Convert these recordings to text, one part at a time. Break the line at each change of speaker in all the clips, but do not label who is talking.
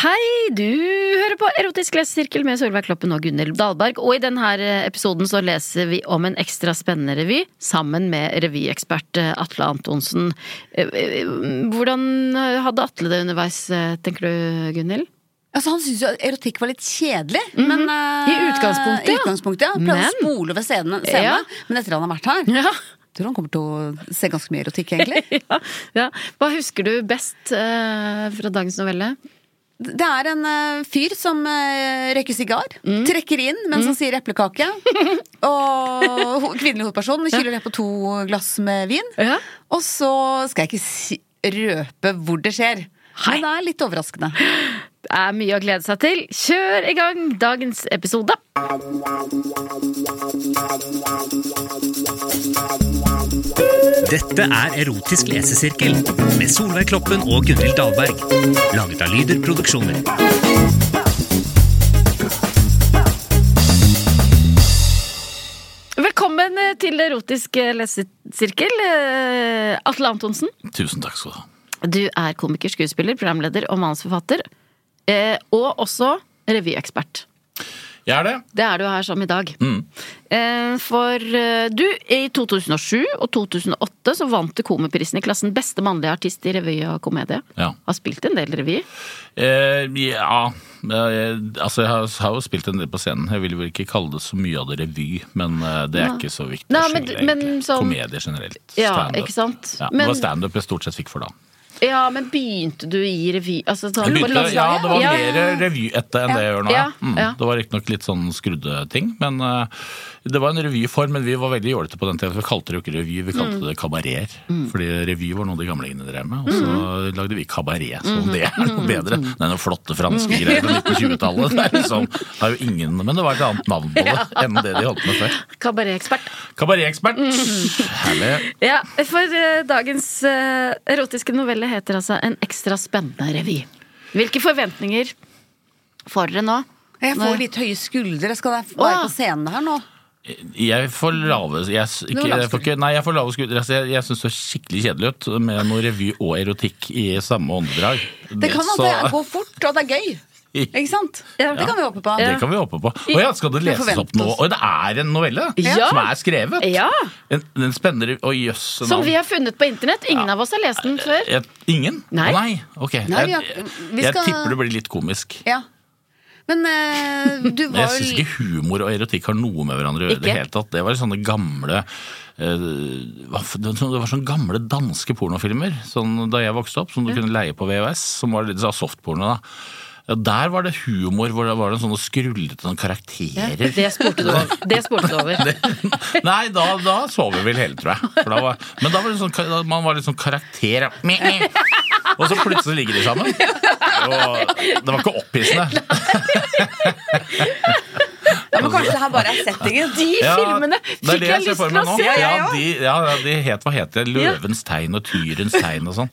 Hei, du hører på Erotisk lesesirkel med Solveig Kloppen og Gunhild Dahlberg. Og i denne eh, episoden så leser vi om en ekstra spennende revy sammen med revyekspert eh, Atle Antonsen. Eh, eh, Hvordan hadde Atle det underveis, eh, tenker du, Gunhild?
Altså, han syntes jo at erotikk var litt kjedelig. men,
Mhm. I utgangspunktet,
ja.
ja.
utgangspunktet ja. Han Prøvde
Men-
å spole over scenen, scenen
Ja.
men etter han har vært her
Ja.
Tror han kommer til å se ganske mye erotikk, egentlig.
ja, Hva husker du best eh, fra dagens novelle?
Det er en eh, fyr som eh, røyker sigar,
Mhm.
trekker inn mens han sier eplekake. og ho kvinnelig hovedperson kyler ned på to glass med vin.
Ja.
Og så skal jeg ikke si, røpe hvor det skjer,
Hei.
men det er litt overraskende.
Det er mye å glede seg til. Kjør i gang dagens episode!
Dette er Erotisk lesesirkel med Solveig Kloppen og Gunhild Dahlberg. Laget av Lyder Produksjoner.
Velkommen eh, til Erotisk eh, lesesirkel, eh, Atle Antonsen.
Tusen takk skal du ha.
Du er komiker, skuespiller, programleder og manusforfatter. eh, Og også revyekspert.
Jeg er det.
Det er du her som i dag.
Mm.
Eh, For eh, du, i 2007 og 2008 så vant du Komiprisen i klassen Beste mannlige artist i revy og komedie.
Ja.
Har spilt en del revy.
Eh, ja eh, Altså, jeg har, har jo spilt en del på scenen. Jeg vil vel ikke kalle det så mye av det revy, men eh, det er ikke så viktig
Nei,
å
men-
skille,
men
egentlig.
sånn-
Komedie generelt.
Ja,
Stand-up.
ikke sant?
Ja,
Men-
Det var standup jeg stort sett fikk for da.
Ja, men begynte du i revy? Altså, sånn,
Jeg begynte,
på
ja, det var
Ja.
mer revy etter enn det jeg gjør nå. Ja.
Ja,
Mm.
ja.
Det var riktignok litt sånn skrudde ting, men eh, det var en revyform. Men vi var veldig jålete på den tiden. for Vi kalte det jo ikke revy, vi
Mm.
kalte det kabareter. Fordi revy var noe de gamlingene drev med, og så
Mm.
lagde vi kabaret. Så om det er noe bedre Det er noen flotte franske greier fra 1920-tallet. Det er liksom, det er jo ingen, men det var et annet navn på det enn det de holdt med før.
Kabaretekspert.
Kabaretekspert!
Mm.
Herlig.
Ja, for eh, dagens eh, erotiske novelle heter altså En ekstra spennende revy. Hvilke forventninger får dere nå?
Jeg
Nei.
får litt høye skuldre. Skal jeg være
Åh.
på scenen her nå?
Jeg får lave jeg, s- ikke,
har lave
jeg får ikke, Nei, jeg får lave skuldre. Altså, Jeg, jeg syns det er skikkelig kjedelig ut med noe revy og erotikk i samme åndedrag.
Det kan at det går fort, og det er gøy. Ikke sant?
Ja.
Det kan vi håpe på.
Det kan vi håpe på. Å ja, skal det
Vi
leses opp
forventer
nå?
oss.
Og det er en novelle
Ja.
som er skrevet?
Ja.
En, en spennende Å jøss. en
Som vi
annen-
har funnet på internett. Ingen av oss har lest den før.
Et- Ingen?
Nei.
Å, nei. Ok.
Nei, vi har-
jeg
vi
jeg
skal-
tipper det blir litt komisk.
Ja. Men eh, du
Men
var
Jeg syns
jo
ikke humor og erotikk har noe med hverandre å gjøre. i
Ikke?
Det hele tatt. Det var sånne gamle eh, hva for- Det var sånne gamle danske pornofilmer sånn, da jeg vokste opp, som
Mm.
du kunne leie på VHS, som var litt sånn softporno. da. Ja, der var det humor, hvor det var det sånne skrullete sånne karakterer.
Det spurte du over. Det spurte du over.
Nei, da, da så vi vel hele, tror jeg. For da var, men da var det sånn, ka- da- man var litt sånn karakter ja. Meh, meh. Og så plutselig ligger de sammen. Og det var ikke opphissende.
ja, men Kanskje det her bare er settingen?
De filmene
det er
fikk
det
jeg
ser
lyst
for
til
meg
å
nå.
se!
Ja, de, ja, ja, de het, hva het det? Løvens tegn og Tyrens tegn og sånn.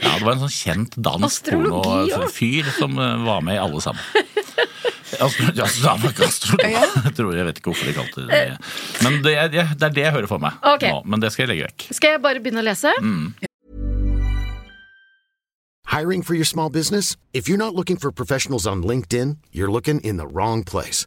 Ja, det var en sånn kjent dansk
Astrologi, ja.
pornofyr som eh, var med i alle sammen. Astro- Ja, så da var ikke astrolog. Jeg tror jeg vet ikke hvorfor de kalte det det. Men det, er- det er det jeg hører for meg
Eh. Ok.
nå. Men det skal jeg legge vekk.
Skal jeg bare begynne å lese?
Mm.
Hiring for your small business? If you're not looking for professionals on LinkedIn, you're looking in the wrong place.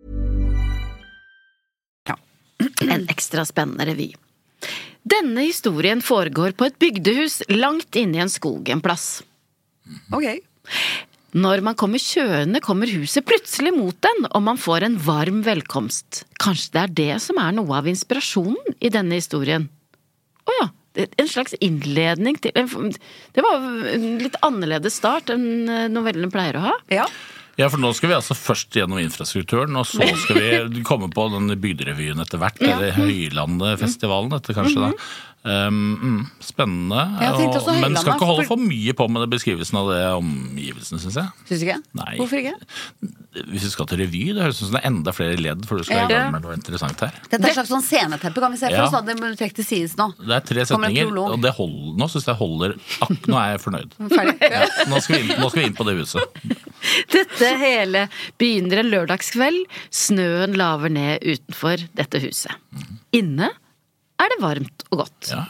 En ekstra spennende revy. Denne historien foregår på et bygdehus langt inne i en skog en plass.
Ok.
Når man kommer kjørende, kommer huset plutselig mot den, og man får en varm velkomst. Kanskje det er det som er noe av inspirasjonen i denne historien? Å ja. det- En slags innledning til en- Det var jo en litt annerledes start enn eh, novellen pleier å ha.
Ja.
Ja, for nå skal vi altså først gjennom infrastrukturen, og så skal vi komme på den bygderevyen etter hvert, eller Høylandefestivalen etter kanskje da. Um, mm, spennende,
Mm-hmm. Jeg tenkte også
og, men skal
Høylandet,
ikke holde
for-
for mye på med det beskrivelsen av det omgivelsene, synes jeg.
Syns du ikke?
Nei.
Hvorfor ikke?
Hvis du skal til revy, det høres ut som det er enda flere ledd for du skal
Ja.
i gang med noe interessant her.
Dette er et slags sånn sceneteppe, kan vi se for
Ja.
oss. da. Det må du trekke til sides nå.
Det er tre
Kommer en
setninger,
prolog.
og det holder, nå synes jeg holder, ak, nå er jeg fornøyd.
Ferdig.
Ja, nå, skal vi inn, nå skal vi inn på det huset.
Dette hele begynner en lørdagskveld. Snøen laver ned utenfor dette huset. Inne er det varmt og godt.
Ja.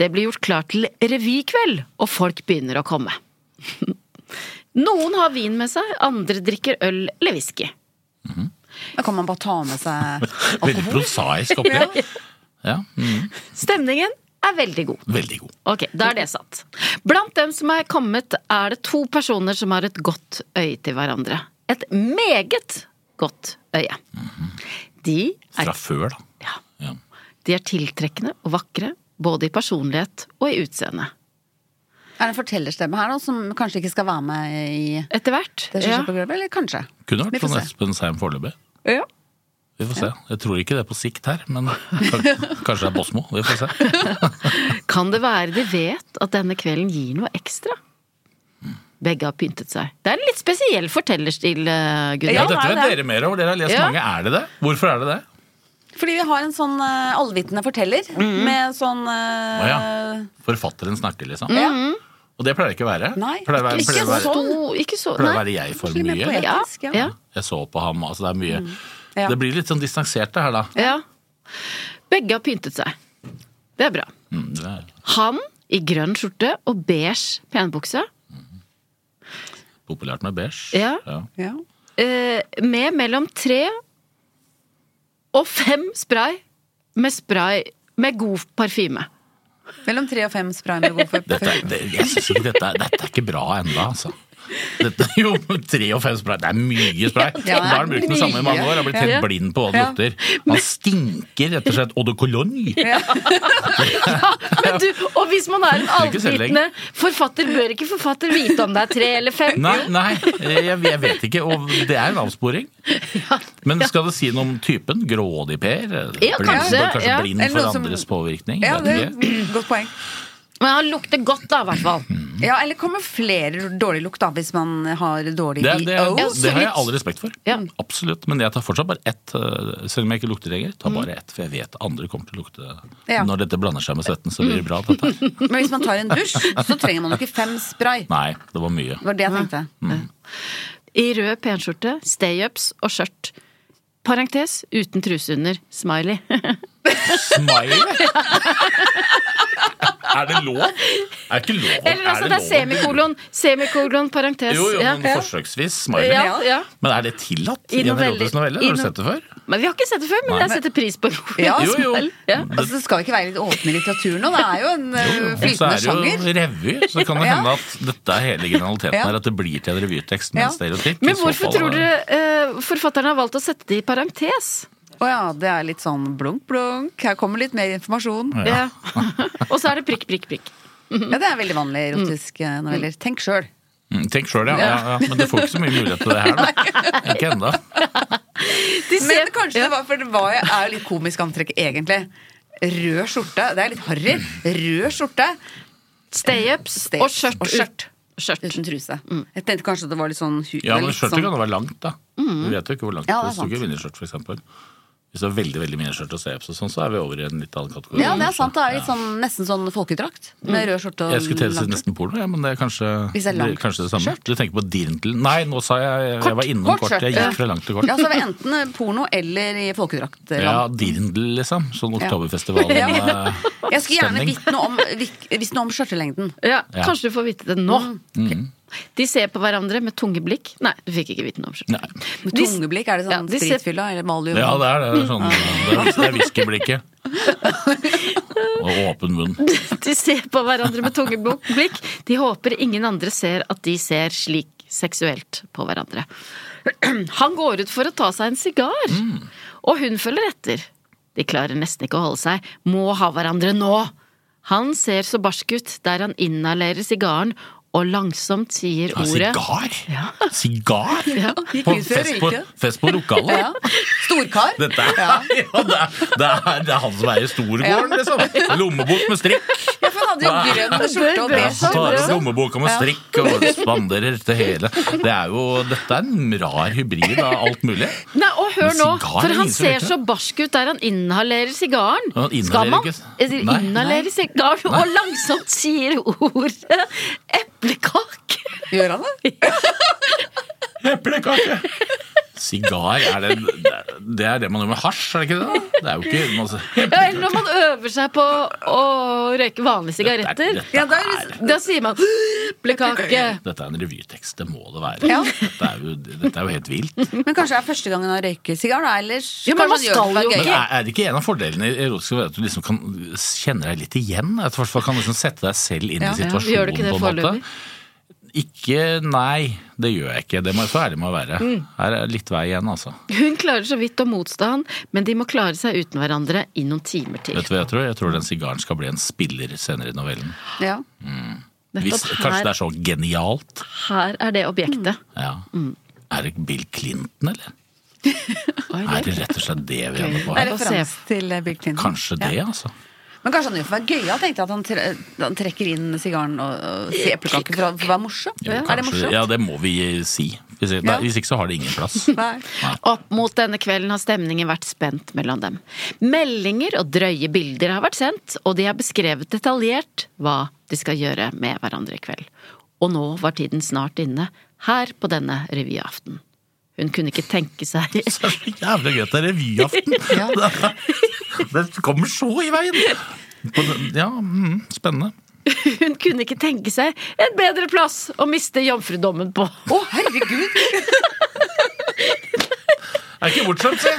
Det blir gjort klart til revykveld, og folk begynner å komme. Noen har vin med seg, andre drikker øl eller whisky.
Da kan man bare ta med seg
Veldig prosaisk opplegg. Ja, mm,
Stemningen er veldig god.
veldig god.
Ok, Da er det satt. Blant dem som er kommet, er det to personer som har et godt øye til hverandre. Et meget godt øye. De er
Fra før da.
ja,
Ja.
De er tiltrekkende og vakre, både i personlighet og i utseende.
Er det en fortellerstemme her nå, som kanskje ikke skal være med i
Etter hvert.
det som skjer på gulvet? Eller kanskje?
Kunne
Vi
vært
får
sånn
se.
Espen Seim foreløpig.
Ja.
Vi får se. Jeg tror ikke det er på sikt her, men kan- kanskje det er Bosmo. Vi får se.
Kan det være de vet at denne kvelden gir noe ekstra? Begge har pyntet seg. Det er en litt spesiell fortellerstil, eh, Gunnar.
Ja,
det
dette
er
vet
det.
dere mer over. Dere har lest
Ja.
mange. Er det det? Hvorfor er det det?
Fordi vi har en sånn eh, allvitende forteller med sånn eh,
Å ja. Forfatteren snakker, liksom.
ja.
Og det pleier det ikke å være.
Mm. Nei,
pleier det å være,
ikke
pleier det å være,
sånn.
To- ikke så
pleier det å
Nei.
være jeg for
Litt mer
mye.
poetisk.
Ja,
ja.
ja.
Jeg så på ham, altså det er mye.
Ja.
Det blir litt sånn distansert det her, da.
ja. Begge har pyntet seg. Det er bra.
Mm, det er
Han i grønn skjorte og beige penbukse.
populært med beige.
Ja.
Ja.
eh, med mellom tre og fem spray med spray med god parfyme.
Mellom tre og fem spray med god for
Dette, er- det, jeg synes ikke dette, er- dette er ikke bra ennå, altså. Dette er jo tre og fem spray. Det er mye spray.
det er
da har han brukt den samme i mange
mye.
år. Har blitt helt
Ja.
blind på hva det
Ja.
lukter. Man stinker rett og slett eau de cologne.
Men du, og hvis man er en
er ikke selvlegg.
allvitende forfatter, bør ikke forfatter vite om det er tre eller fem?
Nei, nei, jeg, jeg vet ikke. Og det er en avsporing. Men skal det si noe om typen? Grådig Per?
Ja,
blind,
kanskje,
kanskje
ja.
blind
Eller
for
noe som-
andres påvirkning?
Ja, det
vet
er
ikke.
et godt poeng.
Men han lukter godt, da, i hvert fall.
Ja, eller kommer flere dårlig lukt, da, hvis man har dårlig
Det, er- det, er-
EO.
det har jeg all respekt for.
Ja.
Absolutt. Men jeg tar fortsatt bare ett, øh, selv om jeg ikke lukter lenger. tar bare ett, For jeg vet andre kommer til å lukte
Ja.
Når dette blander seg med svetten, så
Mm.
blir det bra. Dette. her.
Men hvis man tar en dusj, så trenger man jo ikke fem spray.
Nei, det var mye.
Det var det jeg tenkte.
I rød penskjorte, stay-ups og skjørt. Parentes uten truse under. Smiley.
Smiley? Er det lov? Er ikke lov?
Eller altså, det
er det
er
lov?
semikolon, semikolon, parentes.
Jo, jo, men
ja.
forsøksvis smiley.
Ja, ja.
Men er det tillatt
I
i, en
noveller-
erotisk novelle?
i
Har du
no-
sett det før?
Men vi har ikke sett det før, men
Nei.
jeg setter pris på det.
Ja,
Jo, jo.
Ja.
Altså, det skal ikke være litt åpne i litteraturen nå. Det er jo en eh,
Og så
flytende
er det
sjanger.
jo revy, så kan det
Ja.
hende at dette er hele generaliteten
Ja.
her. At det blir til en revytekst med
Ja.
en stereotyp. I
Men
så
hvorfor
fall
tror
er det-
dere eh, forfatterne har valgt å sette det i parentes?
Å ja, det er litt sånn blunk, blunk. Her kommer litt mer informasjon.
Ja. Og så er det prikk, prikk, prikk.
Ja, det er veldig vanlig i erotiske noveller. Tenk sjøl.
Mm, Tenk sjøl, ja. Ja, ja. Men du får ikke så mye mulighet til det her, da. Ikke ennå.
Men kanskje det var, for det var, jo- er jo litt komisk antrekk, egentlig. Rød skjorte. Det er litt harry. Rød skjorte.
Stay-ups
Stay-
og skjørt.
og skjørt.
ut- skjørt.
Uten sånn truse. Jeg tenkte kanskje det var litt sånn hu-
Ja, men
litt
skjørtet kan jo være langt, da. Du vet jo ikke hvor langt.
Ja, det er
det står ikke
sant.
miniskjørt, for eksempel. Hvis det er veldig veldig miniskjørt og stay-ups og sånn, så er vi over i en litt annen kategori.
Ja, det er
kanskje.
sant. Det er litt
Ja.
sånn, nesten sånn folkedrakt. Med rød skjorte og
Mm. Jeg skulle til å si
lang-
nesten porno, ja, men det er kanskje,
Hvis det er langt
det, kanskje det samme.
skjørt.
Du tenker på dirndl Nei, nå sa jeg jeg var innom
kort
kort.
skjørt,
Jeg
ja.
gikk fra langt til kort.
Ja, så er vi enten porno eller i folkedrakt.
Ja, dirndl, liksom. Sånn Oktoberfestivalen.
Ja.
eh,
Jeg skulle gjerne
stemning.
visst noe om, visst noe om skjørtelengden.
Ja,
Ja. Mm.
Kanskje du får vite det nå.
Mm.
Ok. De ser på hverandre med tunge blikk. Nei, du fikk ikke vite noe om skjørtet.
Nei.
Med
De s-
tungeblikk, er det
Ja,
sånn
de ser-
spritfylla eller Malium?
Ja, det er det. Det er, sånn, det er, det er whiskyblikket. Og åpen munn.
De ser på hverandre med tunge bok- blikk. De håper ingen andre ser at de ser slik seksuelt på hverandre. Han går ut for å ta seg en sigar, og hun følger etter. De klarer nesten ikke å holde seg. Må ha hverandre nå! Han ser så barsk ut der han inhalerer sigaren og langsomt sier
Ja,
ordet
sigar? Sigar?
Gikk
På
ut før
fest på,
røyke.
fest på lokalet?
Ja. Storkar.
Dette er, ja.
Ja.
det, er, det, er, det er han som er i storgården,
Ja.
liksom. Lommebok med strikk.
Ja, for han hadde jo grønn skjorte og
Det er
Ja,
beige
han tar opp
skjorte.
lommeboka med strikk og spanderer til hele. Det er jo, dette er en rar hybrid av alt mulig.
Nei, og hør
Men
nå,
sigar
for
er
han
ingen som
ser
vet det.
så barsk ut der han inhalerer sigaren.
Han inhalerer
Skal man
ikke-
eh,
Nei.
inhalere sigaren og langsomt sier ordet eplekake?
Gjør han det?
Eplekake! Sigar, er det, det er det man gjør med hasj, er det ikke det? da? Det er jo ikke man,
Ja, eller når man øver seg på å røyke vanlige sigaretter.
Dette er-
Ja, da er det-
Da sier man eplekake.
Dette er en revytekst, det må det være.
Ja.
Dette, er jo, dette er jo helt vilt.
Men kanskje det er første gangen han røyker sigar, da? Ellers
Ja, men man
kanskje han gjør det for å
skal jo
være
Men
gøy.
er, er det ikke en av fordelene i erotisk å være at du liksom kan kjenne deg litt igjen? At du i hvert fall kan liksom sette deg selv inn
Ja.
i
Ja,
situasjonen
gjør du ikke det
på en
foreløpig?
måte? Ikke Nei, det gjør jeg ikke. Det må jeg så ærlig med å være.
Mm.
Her er litt vei igjen, altså.
Hun klarer så vidt å motstå han, men de må klare seg uten hverandre i noen timer til.
Vet du hva jeg tror? Jeg tror den sigaren skal bli en spiller senere i novellen.
Ja.
Hvis,
Nettopp
kanskje det
her,
er så Mm. genialt.
her er det objektet.
Ja.
Mm.
Er det Bill Clinton, eller?
Oi,
Er
det
det rett og slett det vi ender
Det
på
er
her?
Nei,
referanse til eh, Bill Clinton.
Kanskje det, altså.
Men kanskje han gjør det for å være gøy? Han tenkte at han, tre han trekker inn sigaren og, og sier eplekake for å for å være morsom?
Jo,
er det
kanskje,
morsomt?
ja, det må vi si. Hvis, ikke- nei,
Ja.
hvis ikke så har det ingen plass.
Nei.
Opp mot denne kvelden har stemningen vært spent mellom dem. Meldinger og drøye bilder har vært sendt, og de har beskrevet detaljert hva de skal gjøre med hverandre i kveld. Og nå var tiden snart inne, her på denne revyaften. Hun kunne ikke tenke seg
Så er det så jævlig gøy at det er revyaften! Det kommer så i veien! På den- Ja, mm, spennende.
Hun kunne ikke tenke seg en bedre plass å miste jomfrudommen på.
Å, herregud!
Er ikke bortskjemt, se!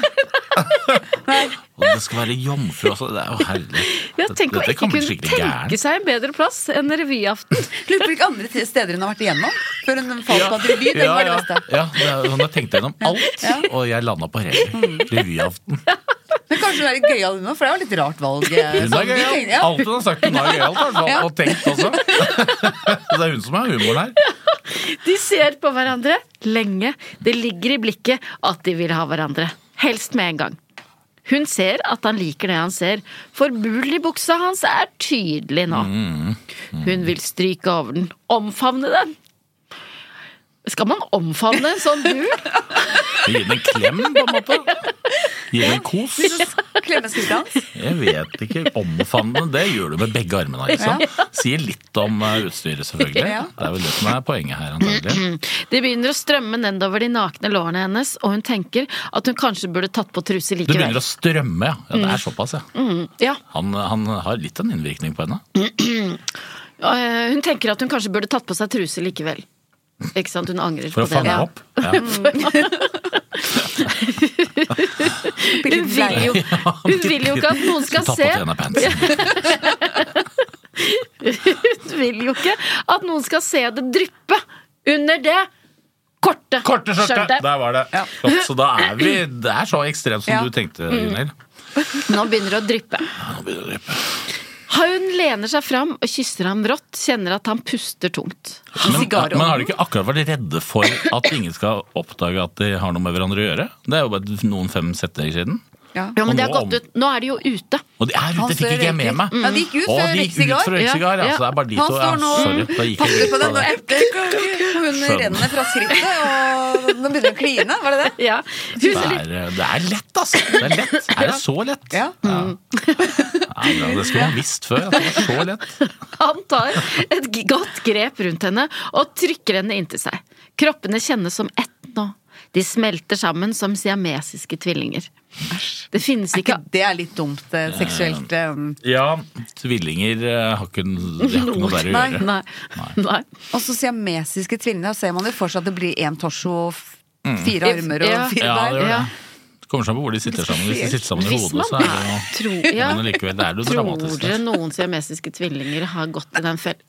Og det skal være jomfru også. Det er jo herlig.
Ja, tenk å
Dette
ikke
kan bli
kunne
skikkelig gæren.
tenke seg en bedre plass enn revyaften.
Lurer på hvilke andre steder hun har vært igjennom før hun falt på at revy. Det
Ja,
var det
ja.
beste.
ja det er, sånn, jeg tenkte gjennom alt, og jeg landa på
Mm.
revy. Revyaften.
Men kanskje hun er litt gøyal nå, for det var litt rart valg. eh,
Hun
sånn.
er gøyal.
Ja.
Alt hun har sagt, hun er gøyal, altså, og tenkt også. Det er hun som er humoren her.
De ser på hverandre lenge. Det ligger i blikket at de vil ha hverandre. Helst med en gang. Hun ser at han liker det han ser, for bulen i buksa hans er tydelig nå. Hun vil stryke over den. Omfavne den. Skal man omfavne en sånn bul?
Gi den en klem, på en måte. Gi den en kos.
Klemme skuldra hans.
Jeg vet ikke. Omfavne, det gjør du med begge armene. ikke sant? Sier litt om eh, utstyret, selvfølgelig.
Ja.
Det er vel det som er poenget her, antagelig.
Det begynner å strømme nedover de nakne lårene hennes, og hun tenker at hun kanskje burde tatt på truse
Det begynner
likevel.
å strømme, ja. ja det
Mm.
er såpass, ja.
Ja,
Han, han har litt av en innvirkning på henne.
øh, hun tenker at hun kanskje burde tatt på seg truse likevel. Ikke sant, hun angrer
For å
på det.
fange
Ja.
opp. Ja.
Hun vil jo, hun vil jo ikke at noen skal
Ta på
se
til henne pantsen.
Hun vil jo ikke at noen skal se det dryppe under det korte,
Korte skjørtet! Der var det. Flott, Så da er vi Det er så ekstremt som
Mm.
Ja.
du tenkte, Gunhild.
Nå begynner det å dryppe. Hun lener seg fram og kysser ham rått, kjenner at han puster tungt.
Men,
Sigarånden.
men har de ikke akkurat vært redde for at ingen skal oppdage at de har noe med hverandre å gjøre? Det er jo bare noen fem setninger siden.
Ja.
Ja,
Og
men det har
nå
gått
om-
ut. Nå er de jo ute.
Og det er ute, fikk ikke jeg med meg.
Ja, de gikk ut
Å,
før
de gikk ut
røyksigar.
for røyksigar,
Ja,
altså.
ja.
Det er bare de
Han
to. Ja,
står nå
sorry, da
og
gikk jeg
passer
ut
på
av
den
det.
etter Hun
Skjønner.
renner fra skrittet, og nå begynner hun å kline. Var det det?
Ja.
Det er, det er lett, altså. Det er lett. Er det så lett?
Ja.
Mm.
Nei, ja, det skulle man visst før. At det var så lett.
Han tar et g- godt grep rundt henne og trykker henne inntil seg. Kroppene kjennes som ett nå. De smelter sammen som siamesiske tvillinger. Det finnes
Er
ikke
ikke det er litt dumt eh, seksuelt? eh,
Ja, tvillinger eh, har ikke, de har ikke noe der å
Nei,
gjøre.
Nei. Nei.
Og så siamesiske tvillinger, ser man jo for seg at det blir én torso og f- fire armer og
Ja.
fire
Mm. Ja, det gjør
bein.
det.
Ja.
Det kommer seg an på hvor de sitter sammen. Hvis de sitter sammen i
Hvis
hodet,
man
så er det jo
Tror, ja.
Men likevel, det er jo
Tror
dramatisk, altså.
dere
det.
noen siamesiske tvillinger har gått i den fellen?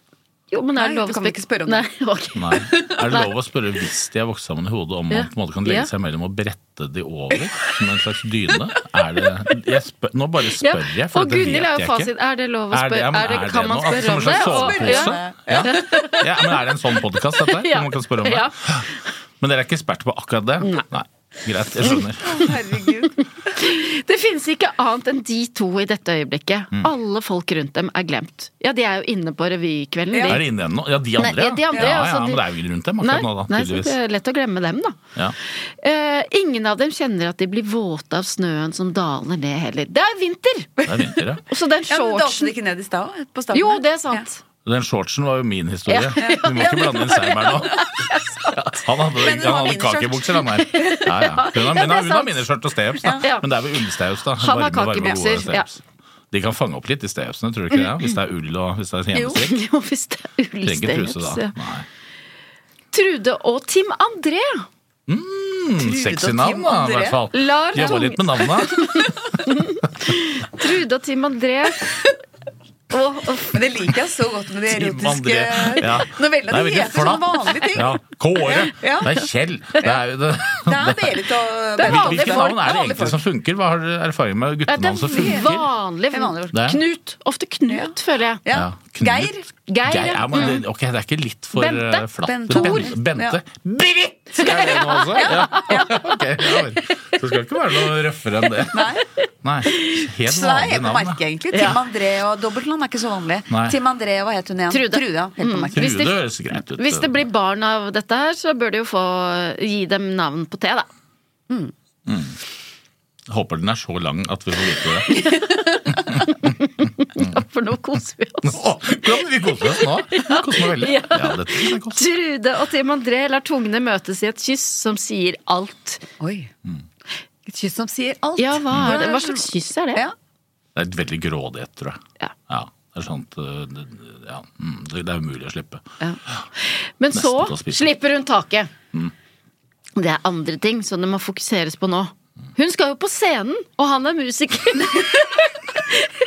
Jo, men er det
Nei,
lov
det
å
kan vi
spek-
ikke spørre om.
Nei, ok.
Nei. Er det lov å spørre hvis de har vokst sammen i hodet, om
Ja.
man på en måte kan legge
Ja.
seg mellom og brette de over som en slags dyne? Er det, jeg spør, nå bare
Ja,
spør jeg, for
og
det vet
Gunhild er
jeg
jo fasit.
ikke.
Er det lov å
Er det-
spørre?
ja, men
Er det,
er
kan
det
man
noe? Altså,
spørre om
som en
det?
slags
Og- ja.
sovepose? Ja. ja, men er det en sånn podkast, dette? her,
Ja.
Hvor man kan spørre om det?
Ja.
Men dere er ikke eksperter på akkurat det? Nei. Greit, jeg skjønner.
Herregud.
Det finnes ikke annet enn de to i dette øyeblikket.
Mm.
Alle folk rundt dem er glemt. Ja, de er jo inne på revykvelden. de.
Er det inne igjen nå? Ja, de andre?
Nei, ja, de andre,
ja, ja,
altså, de-
men det er jo ingen rundt dem
Nei,
akkurat nå, da,
nei, så det
tydeligvis.
er lett å glemme dem, da.
Ja.
Eh, ingen av dem kjenner at de blir våte av snøen som daler ned heller. Det er vinter!
Det er vinter, ja.
Så den
Ja, men Dalte
shortsen
det ikke ned i stad? På starten?
Jo,
her?
det er sant.
Den shortsen var jo min historie.
Ja.
Du må ikke blande inn Seim her nå. Han hadde,
Men hun
han
har
hadde
miniskjørt.
kakebukser, han der. Ja, ja. Hun har,
Ja, det
hun
er
har, hun har
sant.
miniskjørt og steps, da.
Ja.
Men det er vel ullsteps, da.
Han har
Varme, varme, gode
kakebukser, ja. Mm.
steps. De kan fange opp litt i stepsene, tror du ikke det? Hvis det er ull og hvis det er
Jo,
hjemmestrikk.
jo, hvis det er
Trenger ikke truse da.
ullsteps.
Nei.
Trude og Tim André.
Mm, sexy navn,
Tim
da, i
André.
hvert fall.
Lar
Jobba
tung-
litt med navnet.
Trude og Tim André. Og, og
Men det liker jeg så godt med de
Tim
erotiske
André, ja.
novellene. De
Det er veldig
heter sånne
flatt.
vanlige ting.
Ja. Kåre.
Ja.
Det er Kjell. Det er, jo det,
Det er Berit og
Det er vanlige
hvilke
folk.
navn er det
Vanlige
egentlig
folk.
som funker? Hva har dere erfaring med
Ja, det
guttenavn som
er
funker?
vanlig.
Det er vanlig.
Det er-
Knut. Ofte Knut, føler jeg.
Ja.
Ja.
Geir.
Geir,
Geir, ja,
ja.
men det, ok, det er ikke litt for
mm. Bente.
eh, flatt.
Bente.
Bente.
Tor.
Bente.
Ja.
Birgit! Er det nå også? Ja. ok, ja vel. Så det skal ikke være noe røffere enn det.
Nei.
Nei, Helt
Så det er
vanlig
helt på
navn.
merket,
da.
egentlig.
Ja.
Tim André og dobbeltnavn er ikke så vanlig.
Nei.
Tim André, hva het hun igjen?
Trude. Mm.
ja, helt på merket.
Hvis
Trude
det-
høres greit ut.
Hvis det blir barn av dette her, så bør de jo få gi dem navn på te, da.
Håper den er så lang at vi får vite det.
For nå koser vi oss.
Å, hvordan vi koser oss nå! Koser meg veldig. Ja, dette er godt.
Trude og Tim André lar tungene møtes i et kyss som sier alt.
Oi. Et kyss som sier alt.
Ja, hva er det? Hva slags kyss er det?
Ja.
Det er et veldig grådighet, tror jeg.
Ja.
Ja, det er sånt eh, det- ja, mm, Det det er umulig å slippe.
Men
Nesten
så
til å spise.
slipper hun taket.
Mm.
Det er andre ting som det må fokuseres på nå. Hun skal jo på scenen, og han er musiker.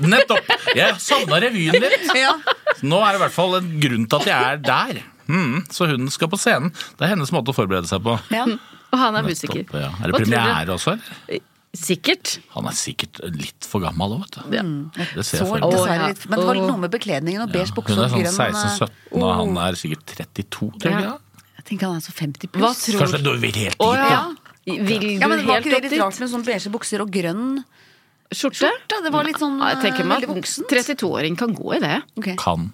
Nettopp! Jeg savna revyen litt.
Ja.
Nå er det i hvert fall en grunn til at jeg er der. Mm, så hun skal på scenen. Det er hennes måte å forberede seg på.
Ja.
Og han er musiker.
Nettopp, ja. Er
Hva
det
tror du?
premiere også, eller?
Sikkert.
Han er sikkert litt for gammel òg, vet du. Det
Så
ser jeg for meg.
Å, ja.
dessverre litt Men det var noe med bekledningen og beige bukse
Hun er
og
sånn
grønn eh,
16-17, og han er sikkert 32, tror jeg.
eh, oh. Ja.
Jeg tenker han er så 50
Hva
pluss.
tror
Kanskje det er helt dit,
Å
ja.
ja. Vil du
Ja, men
helt
Var ikke det
opp
litt rart
dit?
med sånn beige bukser og grønn
Skjorte?
skjorte? Det var litt sånn
Ja, jeg tenker meg
eh, veldig
at
voksent.
32-åring kan gå i det.
Ok.
Kan.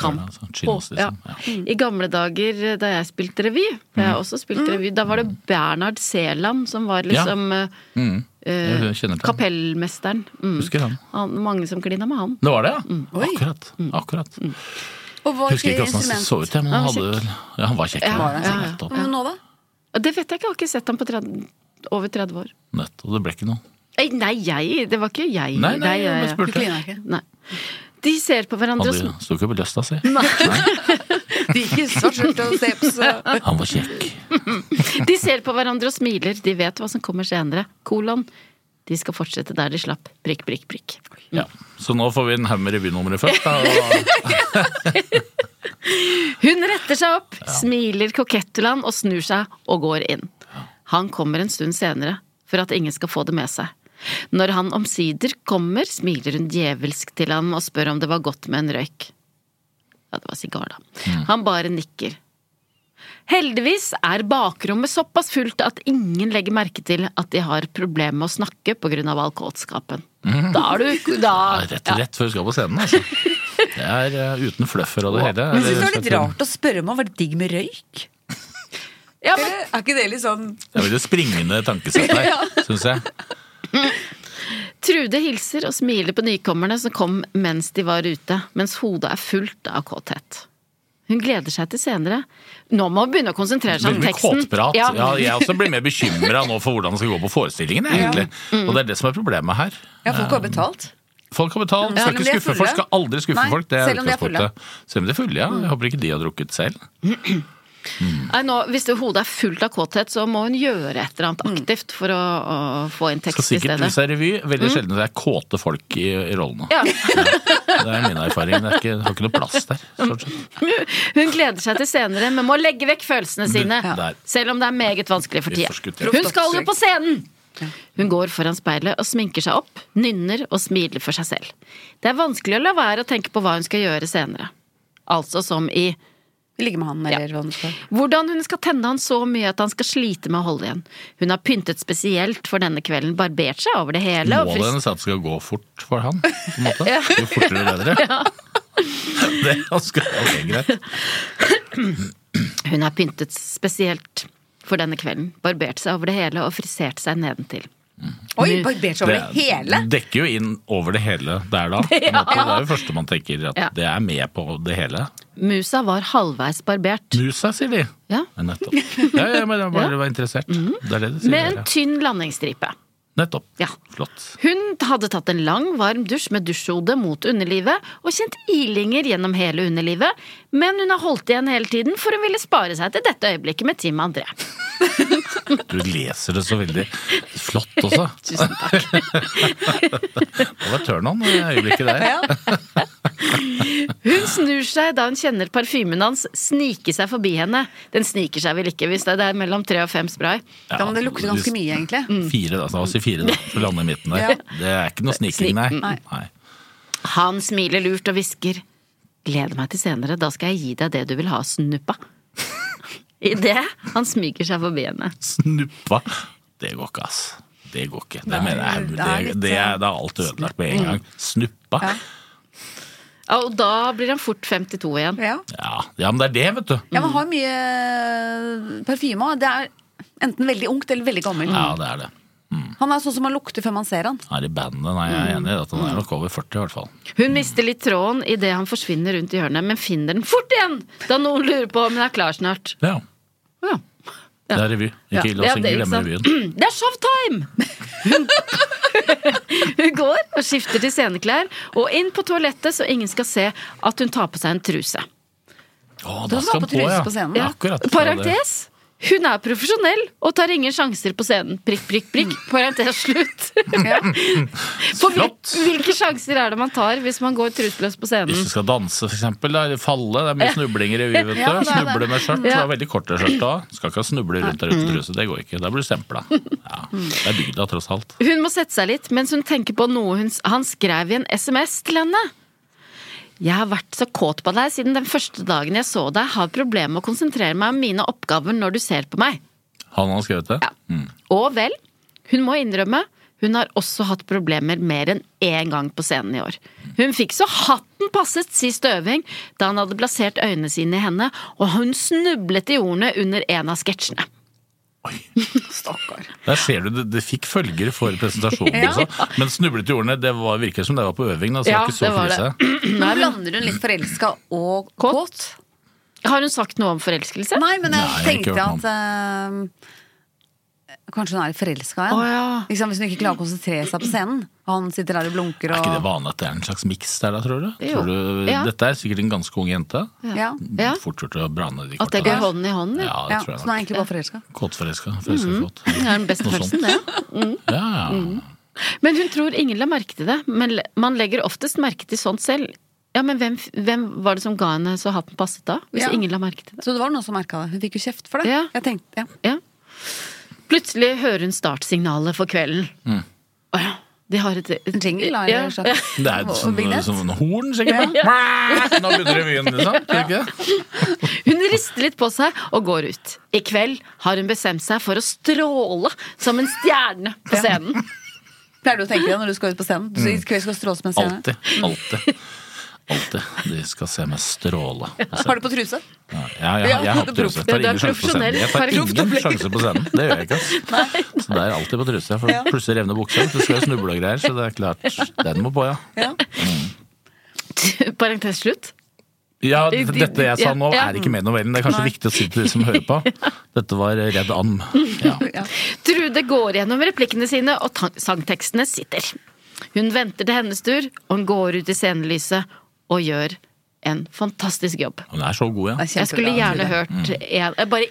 Kan.
Ja, sånn chinos,
Ja.
liksom. Ja.
I gamle dager eh, da jeg spilte revy, da
Mm.
jeg også spilte revy, da var det Bernhard Seland som var liksom eh,
Mm. Jeg kjenner til han.
kapellmesteren. Mm.
Husker han.
Han, mange som klina med han.
Det var det,
Mm.
ja? Akkurat. akkurat.
Og hva
Husker ikke
ikke
hvordan han
instrument?
så ut, jeg, men han,
Han var
hadde, ja, han var kjekk.
Ja,
var han.
ja, ja.
Nettopp.
Men nå, da?
Det vet jeg ikke, jeg har ikke sett han på 30, over 30 år.
Nettopp. Det ble ikke noe.
Ei, Nei, jeg! Det var ikke jeg.
Nei, nei,
jeg,
jeg bare
jeg.
Du
spurte.
klina ikke?
Nei. De ser på hverandre og
Han
sm-
sto ikke på lysta si.
Du gikk i svart skjorte og steps og
Han var kjekk.
De ser på hverandre og smiler. De vet hva som kommer senere. Kolon. De skal fortsette der de slapp. Prikk, prikk, prikk.
Ja. Så nå får vi en haug med revynummeret først. Da, og
Hun retter seg opp, smiler kokett til han og snur seg og går inn. Han kommer en stund senere, for at ingen skal få det med seg. Når han omsider kommer, smiler hun djevelsk til ham og spør om det var godt med en røyk. Ja, det var sigar, da. Han bare nikker. Heldigvis er bakrommet såpass fullt at ingen legger merke til at de har problemer med å snakke pga. all kåtskapen. Da er du da,
Ja, rett rett før du skal på scenen, altså. Det er eh, uten fluffer og det hele.
Men syns det var
Eller-
litt rart å spørre meg om var det digg med røyk?
Ja, men
Er ikke det litt sånn
Det er veldig springende tankesett her, syns jeg.
Trude hilser og smiler på nykommerne som kom mens de var ute, mens hodet er fullt av kåthet. Hun gleder seg til senere. Nå må hun begynne å konsentrere seg
Blir
om
mye
teksten.
kåtprat.
Ja.
Sånn Ja. jeg også blir mer bekymra nå for hvordan det skal gå på forestillingen, jeg, egentlig.
Mm.
Og det er det som er problemet her.
Ja, folk har betalt.
Folk har betalt,
Ja,
skal
selv om
ikke
de er
skuffe folk.
fulle.
Skal aldri skuffe
Nei,
folk. Det er
selv om de er fulle. Mm.
utgangspunktet. Selv om de er fulle, ja. Jeg håper ikke de har drukket selv.
Nei, nå, hvis det hodet er fullt av kåthet, så må hun gjøre et eller annet aktivt for å, å få inn
Mm. Skal
tekst i
sikkert
stedet.
hvis det er revy. Veldig
Mm.
sjelden det er kåte folk i, i rollene.
Ja.
Det er min erfaring. Det er ikke, det har ikke noe plass der. stort sett.
Hun gleder seg til senere, men må legge vekk følelsene sine.
der.
Selv om det er meget vanskelig for
Vi
tida.
forskutterer.
Hun skal jo på scenen! Hun går foran speilet og sminker seg opp, nynner og smiler for seg selv. Det er vanskelig å la være å tenke på hva hun skal gjøre senere. Altså som i
Ligge med han, eller hva det skal.
hvordan hun skal tenne han så mye at han skal slite med å holde igjen. Hun har pyntet spesielt for denne kvelden, barbert seg over det hele. og
Målet
frist-
hennes er at det skal gå fort for han. På en måte. Jo fortere, jo bedre. Det er ganske ok, greit.
Hun er pyntet spesielt for denne kvelden, barbert seg over det hele og frisert seg nedentil.
Oi, barbert seg over
Det
hele?
dekker jo inn over det hele der da. på en måte. Det er jo det første man tenker, at
Ja.
det er med på det hele.
Musa var halvveis barbert.
Musa, sier de.
Ja.
Ja, nettopp. Ja, ja, men jeg bare var interessert. Det er det de sier.
Med en
der, ja.
tynn landingsstripe.
Nettopp.
Ja.
Flott.
Hun hadde tatt en lang, varm dusj med dusjhode mot underlivet og kjent ilinger gjennom hele underlivet, men hun har holdt igjen hele tiden, for hun ville spare seg til dette øyeblikket med Tim André.
Du leser det så veldig flott også.
Tusen takk.
Det var turn on i øyeblikket der.
Hun snur seg da hun kjenner parfymen hans snike seg forbi henne. Den sniker seg vel ikke, hvis det er mellom tre og fem spray.
Da må det lukte ganske mye, egentlig.
Fire, da. Så La oss si fire, da. Så lande i midten der.
Ja.
Det er ikke noe sniking, nei. nei.
Han smiler lurt og hvisker. Gleder meg til senere, da skal jeg gi deg det du vil ha, snuppa. Idet han smyger seg forbi henne.
Snuppa. Det går ikke, ass. Det går ikke. Det, mener jeg,
det
det,
er
det,
litt, Mm.
er, det er alt ødelagt med en gang. Snuppa.
Ja, Og da blir han fort 52 igjen.
Ja.
Ja, ja, men det er det, vet du.
ja, man har mye eh, parfyme òg. Det er enten veldig ungt eller veldig gammelt.
Ja, det er det.
Han er sånn som man lukter før man ser han.
Han er i bandet. Nei, jeg er enig i at han er nok over 40 i hvert fall.
Hun mister litt tråden idet han forsvinner rundt i hjørnet, men finner den fort igjen da noen lurer på om hun er klar snart.
Ja.
Ja.
Det er revy.
Ja,
Ikke la oss
ja, det er
glemme
ikke sant.
revyen.
Det er showtime! Hun, hun går og skifter til sceneklær og inn på toalettet så ingen skal se at hun tar på seg en truse.
Å,
Da
da
må du ha på
skal han på,
truse
ja.
på scenen.
ja. Akkurat.
Parentes. Hun er profesjonell og tar ingen sjanser på scenen. Prikk, prikk, prikk.
Mm.
Parentes slutt. For hvil,
Flott.
hvilke sjanser er det man tar hvis man går truseløs på
Hvis
scenen?
du skal danse, for eksempel, da, eller falle. Det er mye snubling i revy, vet du.
Ja, Mm. det er det.
Snuble med
Ja.
skjørt. Du har veldig korte skjørt da. Skal ikke snuble rundt der uten truse. Det går ikke. Da blir du stempla. Ja. Det er bygda, tross alt.
Hun må sette seg litt mens hun tenker på noe hun, han skrev i en SMS til henne. Jeg har vært så kåt på deg siden den første dagen jeg så deg. Har problemer med å konsentrere meg om mine oppgaver når du ser på meg.
Han har skrevet det?
Og vel, hun må innrømme, hun har også hatt problemer mer enn én gang på scenen i år. Hun fikk så hatten passet sist øving, da han hadde plassert øynene sine i henne, og hun snublet i ordene under en av sketsjene.
Stakkar.
Der ser du, det, det fikk følger for presentasjonen også. Men snublet i ordene, det var, virker som det var på øving. Da, så
Ja,
det var ikke så
det var det.
krise.
Nå blander hun litt forelska og
Kåt?
kåt.
Har hun sagt noe om forelskelse?
Nei, men jeg
Nei, jeg har ikke
tenkte
hørt
at eh, Kanskje hun er litt forelska igjen.
Å, ja.
liksom, hvis hun ikke klarer å konsentrere seg på scenen. Han sitter der og blunker
Er
og
ikke det vanlig at det er en slags miks der, da, tror du?
Jo.
Tror du
Ja.
Dette er sikkert en ganske ung jente.
Ja.
Ja,
Mm, Fort gjort å brane de
At det
korta
går
der.
hånd i hånd? Ja. Mm.
Ja, det
Ja, så
tror jeg
hun er
nok.
egentlig bare forelska.
Kåtforelska. Forelskakåt.
Det er den beste
Noe
følelsen, det. ja.
Ja, ja.
Mm. Men hun tror ingen la merke til det. Men le- man legger oftest merke til sånt selv. Ja, men hvem, f- hvem var det som ga henne så hatten passet da? Hvis
Ja.
ingen la merke til det?
Så det var noen som merka det. Hun fikk jo kjeft for det.
Ja.
Jeg tenkte, ja.
Ja. Plutselig hører hun startsignalet for kvelden. Å ja, De har et
En jingle, da,
Ja,
eller sånn.
ja.
Det er
Og- og
som,
vignett.
som en horn, sikkert. da. Nå begynner revyen, liksom. Tror du ikke det?
Hun rister litt på seg og går ut. I kveld har hun bestemt seg for å stråle som en stjerne på scenen.
Pleier du å tenke det når du skal ut på scenen? Du skal, skal stråle som en scene.
Mm. Alltid. Alltid. Alltid. De skal se meg stråle.
Har du på truse?
Ja, jeg, jeg, jeg har hatt truse. Jeg tar
Du er
ingen sjanse på
profesjonell.
scenen. Jeg tar ingen
Profesjonell.
sjanse på scenen. Det gjør jeg ikke. ass. Så det er alltid på truse. For plutselig revner buksa. Du skal jo snuble og greier, så det er klart. Den må på, ja.
Ja.
Parentes slutt.
Ja,
I- i-
dette jeg sa
ja,
nå
ja.
er ikke med i novellen. Det er kanskje viktig å si til de som hører på. Dette var Redd And. Ja.
Trude går gjennom replikkene sine, og ta- sangtekstene sitter. Hun venter til hennes tur, og hun går ut i scenelyset og gjør en fantastisk jobb.
Hun er så god, ja.
Det er
Jeg skulle
kjempebra. Mm.
gjerne hørt en, jeg bare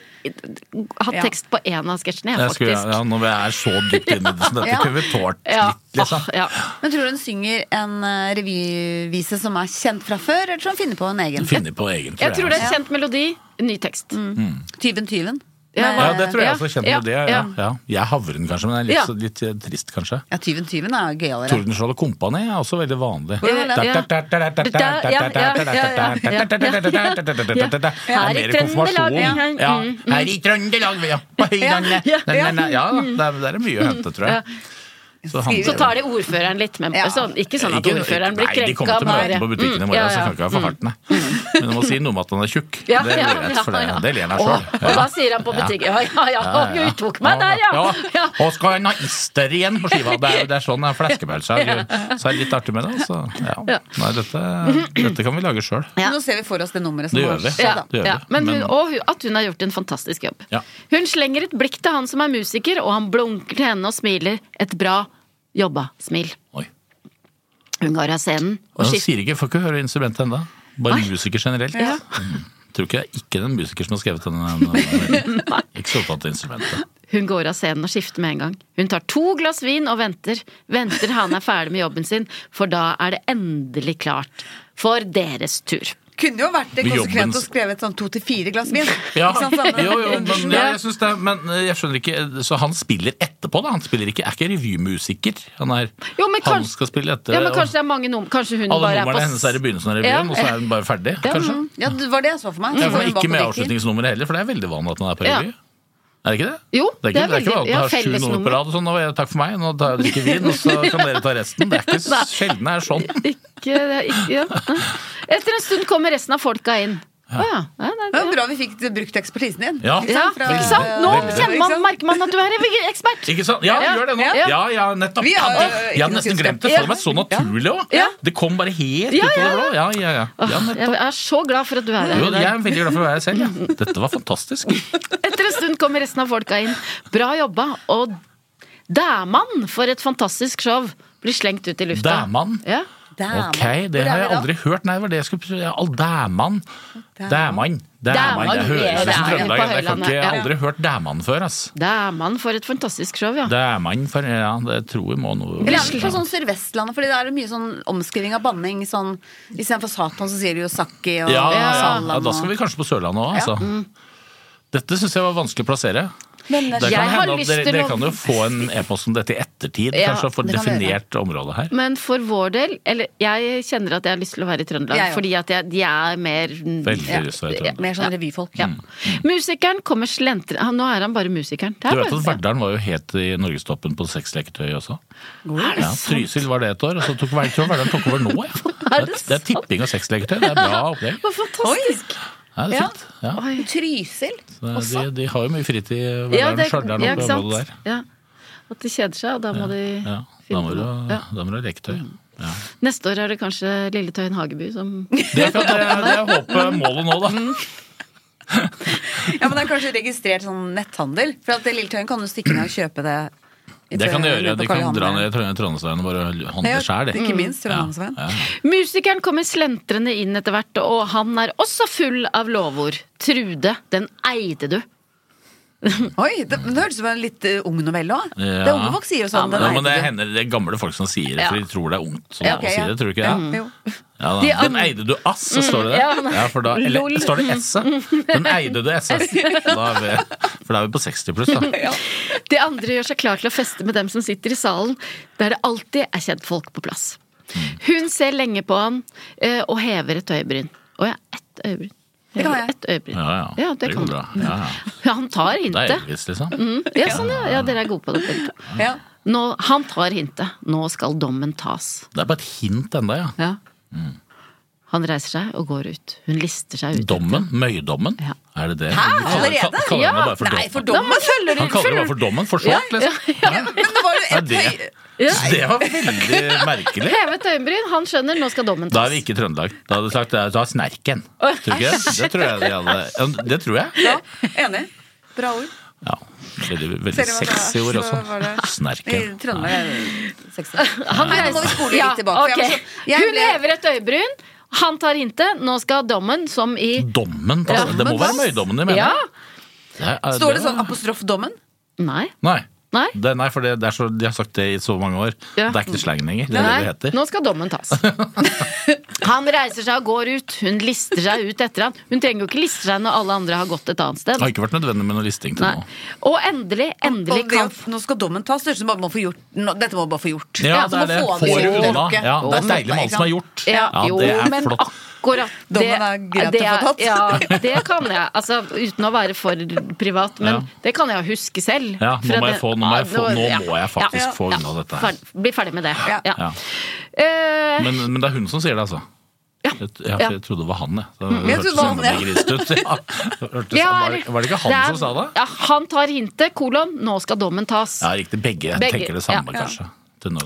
hatt
Ja.
tekst på én av sketsjene, jeg,
Jeg skulle,
faktisk.
ja. Når vi er så dypt inne i det, så dette
Ja.
kunne vi tålt
Ja.
litt, liksom.
Åh, ja.
Men tror du hun synger en eh, revyvise som er kjent fra før, eller tror hun finner på en egen?
Finne på egen,
Jeg tror det er
altså.
en kjent melodi, en ny tekst.
Mm. Tyven tyven?
Ja,
Ja, det tror jeg
Ja,
også kjenner
ja,
det. Ja,
ja.
ja. Jeg havrer den kanskje, men den er
Ja.
litt, så- litt eh, trist, kanskje.
Ja, Tyven tyven er gøyalere.
Tordenskjold og Kompani er også veldig vanlig.
Ja, ja.
Det er mer konfirmasjon. Ja. Mm. Her i Trøndelag, ja. På Høylandet.
Ja.
Nei, nei, nei. Ja, der der er mye å hente, tror jeg. Så handler
Så
det-
tar de ordføreren litt med.
Ja.
Sånn, ikke sånn at
Ikke-
ordføreren blir
Nei, de kommer
krenka.
til å møte
bare.
ham på butikken i
Mm,
morgen,
ja,
så
ja.
kan ikke være for hardt, nei. Men du må si noe om at han er tjukk. Det
Ja,
går
ja,
greit, for
ja, ja.
det det ler han
Og, og da
sjøl.
sier han på butikken Ja, ja, ja, hun tok meg der, ja! ja.
Og skal han ha ister igjen på skiva? Det er, det er sånn det er fleskepølse. Så er det litt artig med det. Altså. Ja. Nei, dette, dette kan vi lage sjøl.
Ja.
Nå ser vi for oss det nummeret som
Det
har
gjør vi.
skjedd, da.
Det gjør
ja.
vi.
Men hun,
Men-
og hun, at hun har gjort en fantastisk jobb.
Ja.
Hun slenger et blikk til han som er musiker, og han blunker til henne og smiler et bra jobba-smil. Hun går av scenen og
Han
skifter
sier ikke, får ikke høre instrumentet ennå. Bare
Nei.
musiker generelt.
Ja.
Mm. Tror ikke det er ikke den musiker som har skrevet den. Ikke så opptatt av instrumentet.
Hun går av scenen og skifter med en gang. Hun tar to glass vin og venter. Venter han er ferdig med jobben sin, for da er det endelig klart for deres tur.
Kunne jo vært det
Jobbens-
konsekvent å skrive et sånn to til fire glass vin.
Ja,
Ikke sant, Sanne?
jo, jo, men, ja, jeg synes det, men eh, jeg skjønner ikke Så han spiller etterpå, da? Han spiller ikke, er ikke revymusiker? Han, er,
Jo, men
han
kanskje-
skal spille etter.
Ja, men
og
kanskje det er mange nummer Kanskje hun
alle
bare er på
numrene hennes er i begynnelsen av revyen,
Ja.
og så er hun bare ferdig? kanskje?
Ja, det var det jeg så
Mm.
for meg. Så hun
Ja, for det er
var
ikke
på
med
dekket.
avslutningsnummeret heller, for det er veldig vanlig at man er på
Ja.
revy. Er det ikke det?
Jo,
det er ikke,
det er
det er ikke
veldig-
vanlig å ha
ja,
sju nummer
fellesnummer.
på rad og sånn. Nå er jeg- Takk for meg, nå tar jeg og drikker vin, og så kan dere ta resten. Det er ikke sjelden det er sånn.
Ikke, det er ikke, ja. Etter en stund kommer resten av folka inn. Å ja. ja, det er-
Det var bra vi fikk brukt ekspertisen din.
Ja.
ja,
Fra-
ikke sant? Nå
Veldig.
kjenner man,
Ikke sant?
merker man at du er en ekspert!
Ikke sant? Ja,
Ja.
gjør det nå!
Ja.
Ja, ja, nettopp.
Vi
Ja,
har,
det-
øh,
Jeg
ikke
hadde
noe
nesten glemt det.
kunnskap.
For meg så naturlig òg.
Ja.
Det kom bare helt
Ja,
ut av
ja,
det blå. Ja, ja, ja. ja
Jeg
nettopp.
er så glad for at du er her.
Jo,
i dag.
jeg er veldig glad for å være her selv. Ja. Dette var fantastisk.
Etter en stund kommer resten av folka inn. Bra jobba. Og dæman for et fantastisk show! Blir slengt ut i lufta.
Dæman?
Ja.
Dæman.
Ok,
Hvor
det
er
har
vi
jeg
da?
aldri hørt. Nei, det var det jeg skulle prøve. Ja, all Dæman. Dæman. Dæman.
Dæman,
Det høres ut
det er
som
jo på
Trøndelag. Jeg kan
Høylandet,
ikke- Jeg har
ja.
aldri hørt Dæman før, ass.
Dæman for et fantastisk show, ja.
Dæman for Ja, det tror jeg må noe
Eller er det på sånn Sør-Vestlandet, fordi det er mye sånn omskriving av banning. Sånn, Istedenfor Satan, så sier de jo Sakki og
ja, ja,
altså.
Salam.
ja, da
og-
skal vi kanskje på Sørlandet òg, altså. Dette syns jeg var vanskelig å plassere.
Men,
Det
Jeg
kan
har
hende at
lyst
dere,
til
dere
å-
kan jo få en e-post om dette i ettertid,
Ja,
kanskje, og få
det kan vi
definert området her.
Men for vår del, eller jeg kjenner at jeg har lyst til å være i Trøndelag,
Jeg òg.
fordi at jeg, de er mer
Veldig lyst til å være i Trøndelag.
Mer sånn revyfolk.
Ja.
Mm.
Musikeren kommer slentrende Nå er han bare musikeren. Det
Du
er
vet at
bare-
Verdalen var jo helt i norgestoppen på sexleketøy også.
Er det
Ja, Trysil var det et år, og så tok Verdalen, Verdalen tok over nå, ja.
Er det
Det er, det er tipping og sexleketøy, det er bra opplegg.
Hva fantastisk!
Ja, det er fint. Ja. Eh,
Trysil.
De, de har jo mye fritid,
Ja,
Verdalen,
det-
Stjørdal
ja,
og
ikke
det
sant?
området der.
Ja. At de kjeder seg, og da må de
Ja, da
finne
må
på
du
noe.
ha
Ja. Mm.
da må du ha leketøy. Ja.
Neste år er det kanskje Lilletøyen Hageby som
Det er, det er, det er håpet målet nå, da.
Mm. Ja, men det er kanskje registrert sånn netthandel. For at Lilletøyen kan jo stikke ned og kjøpe det. i
Det kan de
Trøndelag,
gjøre.
på Karl
De kan
Johan
dra
der.
ned i Trond- Trondheimsveien og bare
Ja,
handle sjæl.
Ikke minst
Mm.
Trondheimsveien.
Musikeren kommer slentrende inn etter hvert, og han er også full av lovord. Trude, den eide du.
Oi, det, men det hørtes ut som en litt eh, ung novelle òg.
Ja.
Det er unge folk sier jo sånn.
Ja,
den
Ja,
er
men det
ikke-
hender det er gamle folk som sier det,
Ja.
for de tror det er ungt. Som
Ja, ok,
sier
ja. Mm.
det, tror du ikke det?
Jo.
Ja, da.
De an-
Den eide du ass, så står
Mm,
det det.
ja, nei.
Ja, for da, eller
Lol.
står det S-et. Den eide du SS. Da er vi, for da er vi på 60 pluss, da.
De andre gjør seg klar til å feste med dem som sitter i salen, der det alltid er kjentfolk på plass.
Mm.
Hun ser lenge på han eh, og hever et øyebryn. Å ja, ett øyebryn.
Det kan
Hever
jeg.
Et øyebryn.
Ja, ja.
Ja, det kan
går
du.
bra. Ja, ja.
Ja, Han tar
Det er
hintet.
Elvis, liksom.
Mm, ja, sånn, ja. ja, dere er gode på det. begge to.
Ja.
Nå, han tar hintet. Nå skal dommen tas.
Det er bare et hint enda, ja.
Ja. Han reiser seg og går ut. Hun lister seg ut.
Dommen? Møydommen?
Ja.
Er det det?
Hæ?
Han kaller-
Allerede?
ka- kaller den det bare for
Nei,
dommen.
for dommen følger
Han kaller det bare for dommen, for short, liksom.
Ja, men det var jo
Ja,
et
det.
høy...
Så det var veldig merkelig.
Hevet øyenbryn, han skjønner, nå skal dommen
Da
tas.
er vi ikke i Trøndelag. Da hadde jeg sagt det er- da er snerken. Tror du ikke det? Det tror jeg de hadde. Ja, Det tror jeg.
Ja, enig. Bra ord.
Ja, veldig,
Ser
veldig
du hva det er?
sexy ord
Så var
også.
det- I
Snerken.
Trøndelag er det sexy.
Han
Nei, nå må vi spole litt tilbake, for jeg
ok.
var så- jeg
Hun
ble-
hever et øyebryn, han tar hintet, nå skal dommen, som i
Dommen, da.
Dommen,
Det må være
da.
møydommen de mener.
Ja?
Det er-
Står det sånn apostrofdommen?
Nei.
Nei.
Nei.
Det, nei, for det, det er så, de har sagt det i så mange år.
Ja.
Det er ikke slang lenger. Det
Nei,
er det det heter.
nå skal dommen tas. Han reiser seg og går ut, hun lister seg ut etter han. Hun trenger jo ikke liste seg når alle andre har gått et annet
Det
sted.
har ikke vært nødvendig med noe listing til
Nei.
nå.
Og endelig, endelig
Og det
kan
at nå skal dommen tas. Det høres ut som bare man får gjort nå, Dette må man bare få gjort.
Ja,
så må
det er det.
få han
Får
i
du
runde,
unna.
ikke?
Ja, det er
Dommen,
deilig med han
ikke
som har
sant?
gjort.
Ja,
Ja,
jo,
det er
men
flott.
akkurat det
Dommen er greit
det
å få tatt.
Ja, det kan jeg. Altså, uten å være for privat, men
Ja.
det kan jeg huske selv.
Ja, nå
Fra
må jeg
det-
få- nå må jeg
Ja,
få- nå
ja,
må jeg faktisk
ja,
få
ja.
unna dette her.
Fer- Bli ferdig med det.
Ja.
Ja.
Ja.
Eh,
Men, men det er hun som sier det, altså.
Ja.
Jeg, ja, for
Ja.
jeg trodde det var han, jeg. Det
Jeg
hørtes
trodde det var han, ja.
enda mer grist ut. Ja. Hørtes,
vi
var,
har-
det, var det ikke han
er-
som sa det?
Ja, han tar hintet, kolon, nå skal dommen tas.
Ja, riktig. Begge,
Begge,
tenker det samme,
ja.
kanskje. Til nå.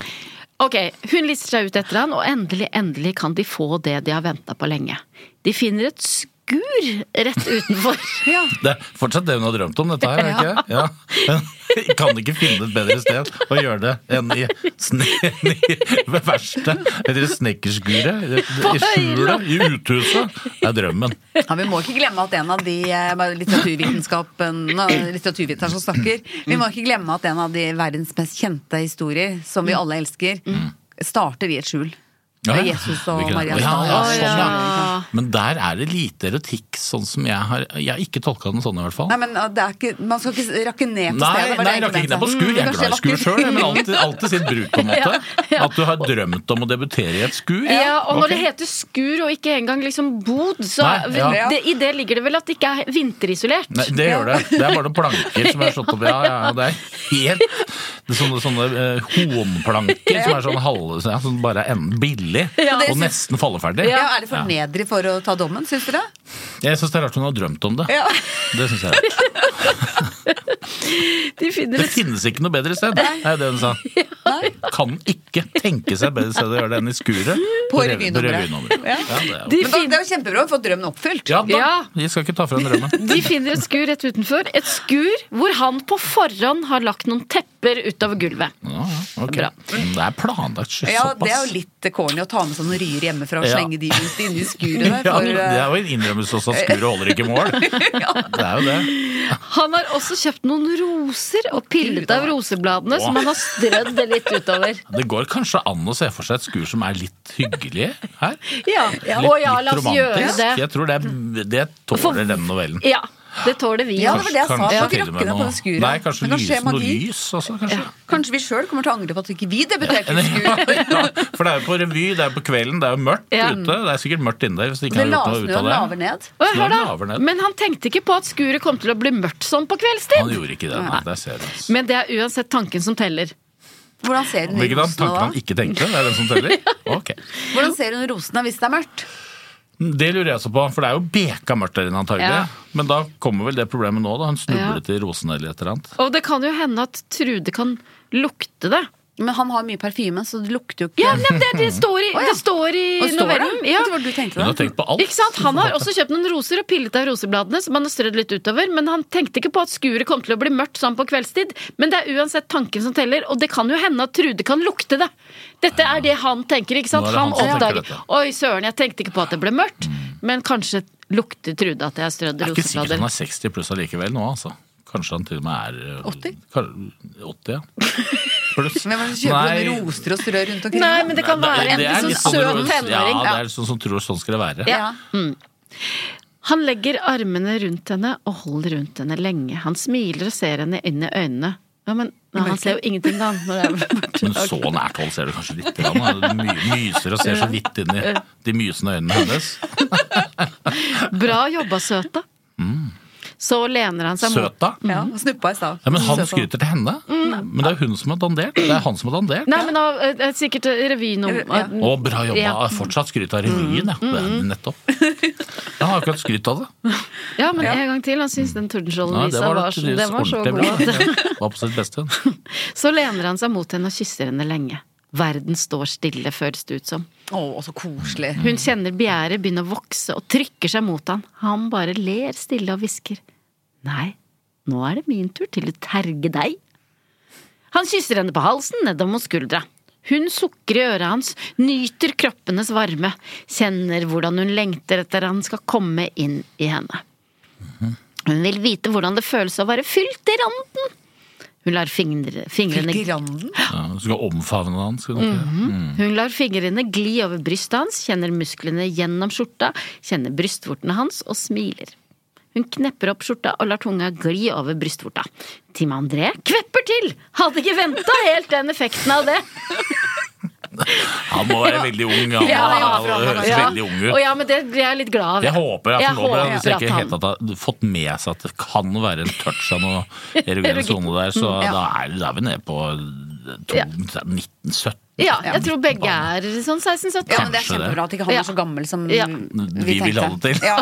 Ok, Hun lister seg ut etter han, og endelig endelig kan de få det de har venta på lenge. De finner et skur rett utenfor. ja.
Det er fortsatt det hun har drømt om, dette her. er det Ikke? Ja. Men jeg kan ikke finne et bedre sted å gjøre det enn i, sne, enn i det verste. Eller snekkerskuret. I skjulet. I uthuset. Det er drømmen.
Ja, vi må ikke glemme at en av de eh, bare litteraturvitenskapen eh, litteraturviteren som snakker Vi må ikke glemme at en av de verdens mest kjente historier, som
Mm.
vi alle elsker, starter i et skjul. Det er Jesus og
Hvilken-
Maria
Ja, ja,
Stahl.
sånn, ja. Men der er det lite erotikk, sånn som jeg har Jeg har ikke tolka den sånn, i hvert fall.
Nei, men eh, det er ikke, Man skal ikke rakke ned på
Nei,
stedet. var det
nei rakk ikke
egentlig
ned på
mente.
skur. Jeg er
Kanskje
glad i skur
rakker-
sjøl, men alltid, alltid sitt bruk, på en måte. At du har drømt om å debutere i et skur.
Ja, og når
Ok.
det heter skur og ikke engang liksom bod, så
Nei, ja.
det, i det ligger det vel at det ikke er vinterisolert.
Nei, det gjør det. Det er bare noen planker som er slått opp. Ja, ja, ja, det er helt det er Sånne, sånne eh, honplanker som er sånn halve ja, Som bare er enden billig og nesten falleferdig.
Ja, Er det fornedrig for å ta dommen, syns dere?
Jeg syns det er rart hun har drømt om det.
Ja.
Det synes jeg. er rart.
De finner
Det
et
finnes ikke noe bedre sted, er det hun sa. Kan ikke tenke seg bedre sted å gjøre det enn i skuret
På
rev-
revynummeret.
revynummeret.
Ja.
Ja, det er
de
jo-
Men da, det
fin-
er jo kjempebra å få drømmen oppfylt.
ja da,
Ja.
vi skal ikke ta fra henne drømmen.
de finner et skur rett utenfor. Et skur hvor han på forhånd har lagt noen tepper utover gulvet.
Ja, ja, ok.
Bra.
Men Det er planlagt så-
Ja,
såpass.
Det er jo litt corny å ta med seg noen ryer hjemmefra og
Ja.
slenge de rundt inne i skuret der.
Ja,
For,
det
eh,
er jo en innrømmelse også at skuret holder ikke mål. Det er jo det.
Han har også kjøpt noen roser og pillet av rosebladene, som han har strødd det litt utover.
Det går kanskje an å se for seg et skur som er litt hyggelig her?
Ja,
Litt,
Og ja, la oss gjøre
romantisk.
det.
Jeg tror det, er- det tåler den novellen.
Ja, det tåler vi.
Ja, det var det jeg sa.
Kanskje
Vi
til
rakker
og med
ned på
noe-
det skuret.
Nei, kanskje
Det kan skje
lys, noe
magi.
lys også, kanskje.
Kanskje vi sjøl kommer til å angre på at ikke vi debuterte i
Ja,
skur.
for det er jo på revy, det er jo på kvelden, det er jo mørkt
Ja.
ute. Det er sikkert mørkt inne der hvis de ikke
Det
har gjort noe
laves
ut
ned og
av
laver
det.
ned.
Å,
Så
hør
da
da.
laver den.
Men han tenkte ikke på at skuret kom til å bli mørkt sånn på
Han
kveldstid.
gjorde ikke det, nei. Der ser du. altså.
Men det er uansett tanken som teller.
Hvordan ser hun
Hvilken av
rosene
tankene han
da?
ikke tenkte, det er den som teller? Ok.
Hvordan ser hun rosene hvis det er mørkt?
Det lurer jeg også på, for det er jo beka mørkt der inne antagelig.
Ja.
Men da kommer vel det problemet nå, da. Hun
Ja.
snublet i rosene eller et eller annet.
Og det kan jo hende at Trude kan lukte det.
Men han har mye parfyme, så det lukter jo ikke
Ja, nei, men det, det står i,
ja.
det står i
Og står det?
novellen. Ja.
Vet du hva du tenkte
Hun
da?
har tenkt på alt.
Ikke sant? Han har også kjøpt noen roser og pillet av rosebladene, som han har strødd litt utover, men han tenkte ikke på at skuret kom til å bli mørkt sånn på kveldstid. Men det er uansett tanken som teller, og det kan jo hende at Trude kan lukte det. Dette er det han tenker, ikke sant?
Nå er det
Han
han som tenker
oppdager
dette.
Oi, søren, jeg tenkte ikke på at det ble mørkt, men kanskje lukter Trude at jeg har strødd
Det er ikke sikkert
roseblader.
han er 60 pluss allikevel nå, altså. Kanskje han til og med er eh,
80?
Kan, 80, ja. Pluss.
Hvem er det som kjøper
Nei.
sånne roser og strør rundt omkring?
Nei, men det kan
Nei,
være
det er
en
litt
sånn søt
sånn-
tenåring.
Ja,
Ja.
det er sånn som tror sånn skal det være.
ja.
Han legger armene rundt henne og holder rundt henne lenge. Han smiler og ser henne inn i øynene. Ja, men nei, han ser jo ingenting, da. Når det er borte.
Men så nært hold ser du kanskje litt. grann, da. Du my- myser og ser så vidt inn i de mysende øynene hennes.
Bra jobba, søta.
Mm.
Så lener han seg mot
Søta.
ja. og Snuppa Mm. i stad.
Ja,
Mm,
men han
Søt
sånn.
på.
skryter til henne. Men det er jo hun som har dandert. Det er han som har dandert.
Nei, men av, eh, sikkert revynummer
Ja.
Å, bra jobba.
Ja. Mm.
Fortsatt skryt av revyen, ja. Det er nettopp. Jeg har akkurat skrytt av det.
Ja, men en gang til. Han syns den
Nei,
tordenskjoldvisa
det
var,
var, da
så-
tydeligvis
den var så
ordentlig
god.
bra. Det Var på sitt beste. hun.
Så lener han seg mot henne og kysser henne lenge. Verden står stille, føles det ut som.
Å, så koselig.
Hun kjenner begjæret begynne å vokse og trykker seg mot han. Han bare ler stille og hvisker. Nei, nå er det min tur til å terge deg. Han kysser henne på halsen, nedover mot skuldra. Hun sukker i øret hans, nyter kroppenes varme, kjenner hvordan hun lengter etter han skal komme inn i henne. Hun vil vite hvordan det føles å være fylt i randen. Hun lar fingre, fingrene
Fylt i randen.
Ja, hun skal omfavne han. Skal hun ikke?
Mm. hun lar fingrene gli over brystet hans, kjenner musklene gjennom skjorta, kjenner brystvortene hans og smiler. Hun knepper opp skjorta og lar tunga gli over brystvorta. Tim André kvepper til! Hadde ikke venta helt den effekten av det.
Han må være veldig ung. Han,
ja.
han høres
Ja.
veldig ung
Og
ut.
ja, men det blir jeg litt glad av.
Jeg håper, jeg,
Jeg
for nå ble jeg, hvis jeg
håper
ikke
at
helt tatt av- fått med seg at det kan være en touch av noe erogen
Erogen.
sone der,
Mm,
så
Ja.
da, er, da er vi nede på eh, to- 1917.
Ja, jeg tror begge er sånn 16-17.
Ja, men Det er
Kanskje det.
kjempebra at ikke han
Ja.
er så gammel som
Ja.
Vi vil ha det til.
Ja.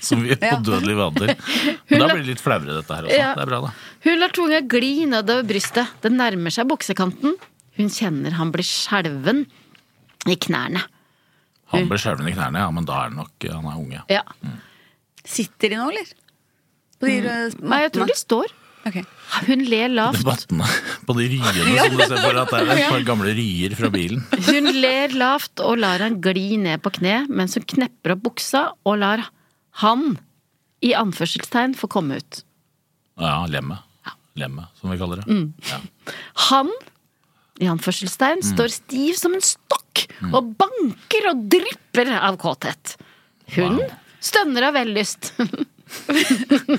Som vi
Ja.
udødelig vaner. Men da blir det litt flauere, dette her også.
Ja.
Det er bra, da.
Hun lar tunga gli nedover brystet. Den nærmer seg buksekanten. Hun kjenner han blir skjelven i knærne.
Han ble skjelven i knærne, ja, men da er det nok han er unge.
Ja.
Sitter de nå, eller? På de mm.
Nei, jeg tror de står. Hun ler lavt.
Vattene på de ryene som du ser for deg at det er et par gamle ryer fra bilen.
Hun ler lavt og lar han gli ned på kne mens hun knepper opp buksa og lar han, i anførselstegn, få komme ut.
Ja, lemmet. Lemmet, som vi kaller
Mm.
det. Ja.
Han, i anførselstegn, står stiv som en stokk og banker og drypper av kåthet. Hun stønner av vellyst.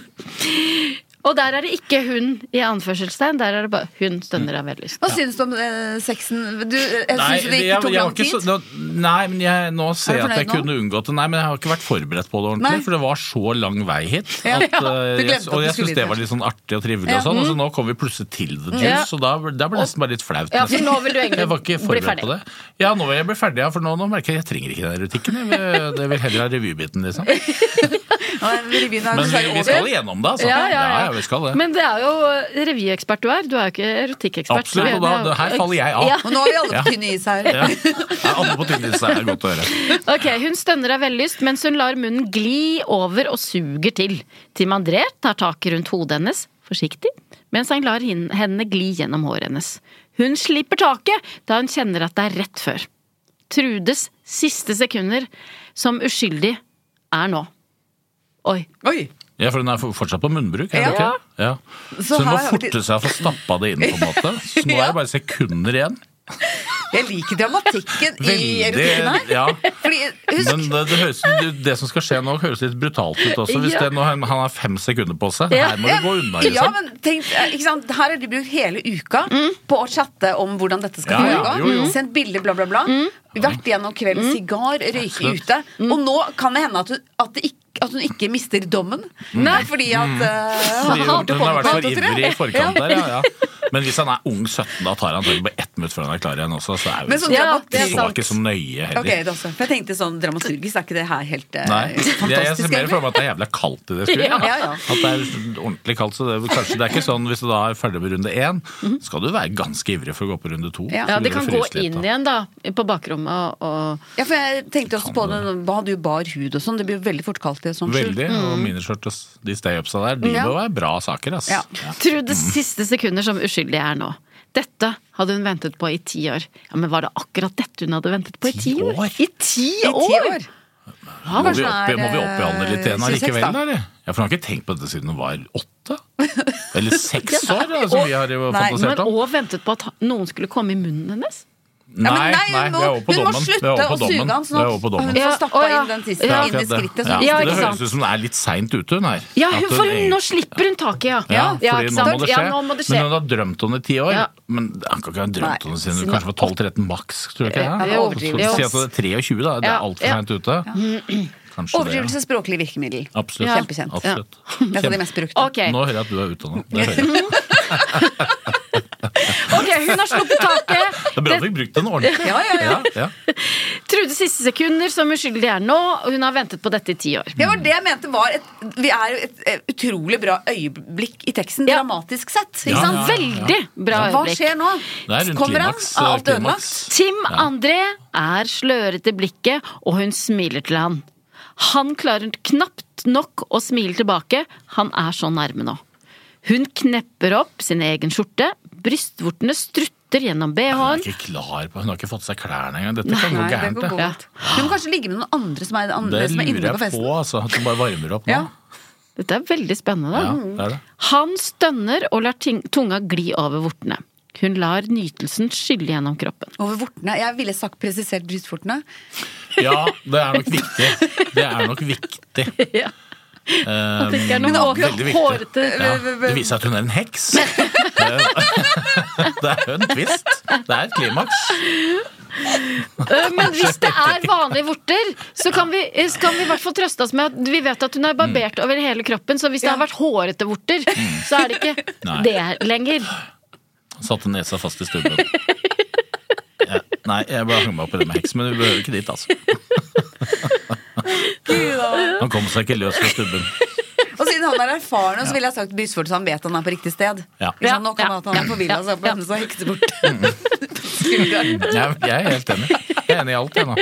og der er det ikke hun i anførselstegn, der er det bare hun stønner av vellyst.
Hva synes du om eh, sexen? Du, eh, jeg
Nei,
synes det ikke
jeg-
tok
jeg
lang
var ikke
tid.
så- nå- nei, men jeg, nå ser jeg
fornøyd
at jeg
nå?
kunne unngått det. Nei, men jeg har ikke vært forberedt på det ordentlig,
Nei.
for det var så lang vei hit.
Ja,
At,
ja,
eh,
du glemte
jeg,
at
og
du
jeg
skulle
syns det
dit
var litt sånn artig og trivelig og
Ja. Mm.
sånn, og så nå kommer vi plutselig til the juice,
Ja.
og da ble da ble det nesten bare litt flaut.
Ja, for
nesten.
nå vil du egentlig
jeg var ikke
bli
forberedt
ferdig.
på det. Ja, nå vil jeg bli ferdig, ja, for nå, nå merker jeg at jeg trenger ikke den erotikken. Jeg vil, jeg vil heller ha revybiten, liksom.
Nei, Revyen er
Men vi,
dessverre
vi
over.
skal igjennom det, altså.
Ja, ja, ja.
vi skal det.
Men det er jo eh, revyekspert du er, du er jo ikke erotikkekspert.
Absolutt,
Det
og da,
er
her
jo-
faller jeg av.
Ja.
Og nå er vi alle
Ja.
på tynn is her.
Ja. Ja, Alle på tynn is, det er godt å høre.
Ok, Hun stønner av vellyst mens hun lar munnen gli over og suger til. Tim André tar tak rundt hodet hennes, forsiktig, mens han lar hin- hendene gli gjennom håret hennes. Hun slipper taket da hun kjenner at det er rett før. Trudes siste sekunder som uskyldig er nå. Oi.
Oi,
Ja, for den er for- fortsatt på munnbruk, er
Ja.
det ikke? Ja.
Så
Så hun må
her-
forte seg å få stappa det inn, på en måte. Så nå er det bare sekunder igjen.
jeg liker dramatikken i erotikken her.
ja.
Fordi, husk,
Men det, det, høres, det- det som skal skje nå, høres litt brutalt ut også. Hvis
Ja.
det, nå, han har fem sekunder på seg.
Ja.
Her må du gå unna,
Ja,
liksom.
men tenk, eh, ikke sant? Her har de brukt hele uka
Mm.
på å chatte om hvordan dette skal
Ja, ja,
foregå.
jo, jo.
Sendt bilder, bla, bla, bla.
Mm.
Vært gjennom kvelden, sigar, røyke
Absolutt.
ute. Og nå kan det hende at, du, at, det ikke, at hun ikke mister dommen. Nei, fordi at eh,
Mm. Fordi
han holdt
hun
på
har
med
vært
på
for
alt, tror jeg.
ivrig i forkant der, ja, ja. Men hvis han er ung 17, da tar han antagelig bare ett minutt før han er klar igjen også. Så er
Men
vi
sånn
så,
Ja, det er
dramaturgisk
sant.
ikke så nøye heller.
Ok, det også. For jeg tenkte sånn dramaturgisk, er ikke det her helt eh,
Nei, jeg, jeg ser
fantastisk?
mer for
eller?
meg at det er jævla kaldt i det skuret.
Ja, ja.
At det er ordentlig kaldt. Så det, er kanskje det er ikke sånn hvis du da er ferdig med runde én, skal du være ganske ivrig for å gå på runde to.
Ja.
Så
Ja,
vil
det kan gå
fryse litt,
inn
da.
igjen, da, på bakrommet og, og
Ja, for jeg tenkte også på det, hva hadde jo bar hud og sånn, det blir jo veldig fort kaldt i et sånt skjul.
Veldig. Og miniskjørt og s- de stay-upsa der, de
Ja.
må være bra saker, ass.
Ja.
Trudes siste sekunder som uskyldig er nå. Dette hadde hun ventet på i ti år. Ja, Men var det akkurat dette hun hadde ventet på i
Ti
ti år?
år?
I ti
I ti
år!
år. Han
Må vi,
kanskje
opp,
er,
må vi opp i alder litt igjen
eh, 26
allikevel,
da.
da? Eller? Ja, for han har ikke tenkt på dette siden hun var åtte? Eller seks år, da, som vi har jo
Nei,
Men
fantasert om?
òg ventet på at han- noen skulle komme i munnen hennes.
Nei,
Ja, men nei,
nei,
hun
vi
må,
er over på
hun må
dommen. Vi
slutte
er over
å
på
suge
dommen.
han,
Vi
sånn at
er over på
hun
dommen.
får
Ja,
stappa
å, ja.
inn den
Det
tissen inn
er
i
akkurat det.
skrittet.
Ja,
Sånn.
Ja,
så
ikke
det høres
sant.
ut som hun er litt seint ute. Hun er.
Ja,
At
hun,
hun
for hun,
egentlig-
nå slipper hun taket, ja.
Ja,
ikke
fordi nå
sant?
må det
Ja,
skje.
nå må det
Men
skje.
hun har drømt om det i ti år.
Ja.
Men han kan ikke ha drømt om det siden
Siden
hun kanskje var 12-13 maks, tror du ikke?
Ja, det er overdrivelse.
Så Si at det er 23, da. Det
Ja,
er altfor
ja.
seint ute. Kanskje det.
Overdrivelse språklig virkemiddel.
Absolutt.
Ja.
Kjempekjent.
Absolutt.
Det er av de mest brukte.
Ok,
Nå hører jeg at du er utdanna. Det hører jeg.
ok, hun har sluppet taket.
Det er bra du fikk brukt den ordentlig.
Ja, ja, ja.
Ja, ja.
Trude siste sekunder som uskyldig er nå, og hun har ventet på dette i ti år.
Det var det jeg mente var et, Vi er jo et, eh, utrolig bra øyeblikk i teksten,
Ja.
dramatisk sett. Ikke
Ja,
sant?
ja,
Veldig bra
Hva
øyeblikk.
skjer nå?
Det er rundt
Kommer han?
klimaks. eh,
Er alt
klimaks.
ødelagt?
Tim André er sløret i blikket, og hun smiler til han. Han klarer knapt nok å smile tilbake, han er så nærme nå. Hun knepper opp sin egen skjorte, brystvortene strutter gjennom
Hun er
bh-en.
ikke klar på Hun har ikke fått seg klærne engang. Dette kan gå
Nei, det
gærent.
går
det.
godt. Hun må kanskje ligge med noen andre som er, andre,
Det
som er
lurer
inne på
jeg
festen.
på, altså. At hun bare varmer opp nå.
Ja. Mm.
Dette er veldig spennende.
Ja, det er det.
Han stønner og lar ting- tunga gli over vortene. Hun lar nytelsen skylle gjennom kroppen.
Over vortene. Jeg ville sagt presisert brystvortene.
Ja, det er nok viktig. Det er nok viktig.
Ja.
Um,
det ikke er noe hår-
veldig
hårete-
Ja,
øh,
det viser at hun er en heks. Det er jo- det er jo en twist. Det er et klimaks.
Øh, Men hvis det er vanlige vorter, så kan vi, eh, så kan vi i hvert fall trøste oss med at vi vet at hun er
Mm.
barbert over hele kroppen, så hvis det har vært hårete vorter, så er det ikke
Nei.
det lenger.
Han Satte nesa fast i stubben. Ja, nei, jeg bare hang meg opp i det med heks, men vi behøver ikke dit, altså. Han kom seg ikke løs fra stubben.
Og siden han er erfaren, så ville jeg sagt brystvorte, så han vet han er på riktig sted.
Ja.
Ikke sant? Nå kan
Ja.
han at han er forvirra, så
Ja.
han seg heksebort. Skulderen.
Jeg, jeg er helt enig. Jeg er enig i alt, jeg nå.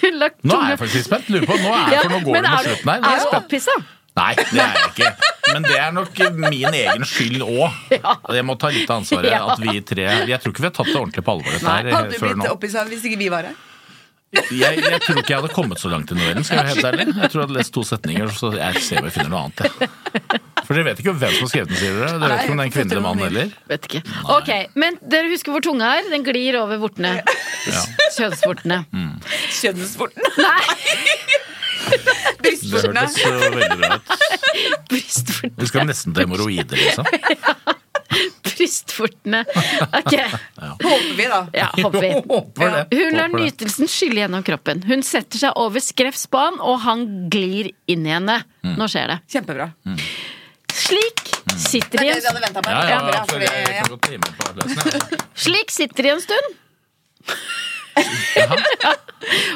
Hun lagt
Nå er
tunga-
jeg faktisk litt spent. Lurer på, nå er jeg, for nå går
men
det mot
er du-
slutten her. Nå
Er
jeg
du
spent.
opphissa?
Nei, det er jeg ikke. Men det er nok min egen skyld òg. Jeg må ta litt av ansvaret.
Ja.
At vi tre Jeg tror ikke vi har tatt det ordentlig på alvor dette her
Hadde
eh,
du
før
blitt
nå.
opphissa hvis ikke vi var her?
Jeg, jeg tror ikke jeg hadde kommet så langt i novellen, skal jeg være helt ærlig. Jeg tror jeg hadde lest to setninger, så jeg ser om jeg finner noe annet. jeg. For dere vet ikke hvem som har skrevet den, sier dere. Dere vet ikke om det er en kvinne eller mann heller.
Vet ikke. Ok, Men dere husker hvor tunga er? Den glir over vortene. Kjønnsvortene.
Mm.
Kjønnsvorten.
Nei,
Det
Brystvortene.
hørtes eh, veldig bra ut.
brystvortene.
Vi skal nesten til hemoroider, liksom.
Brystvortene. Ok.
sånn.
Håper vi, da.
Ja, håper vi.
Håper det.
Hun lar
Håper det.
nytelsen skylle gjennom kroppen. Hun setter seg over skrevs på han, og han glir inn i henne.
Mm.
Nå skjer det.
Kjempebra.
Mm. Slik sitter
Det
de
er det
en,
vi hadde ventet på.
Ja, ja,
Bra,
for
fordi-
jeg
ja.
kan godt time på adressen, jeg.
slik sitter de en stund.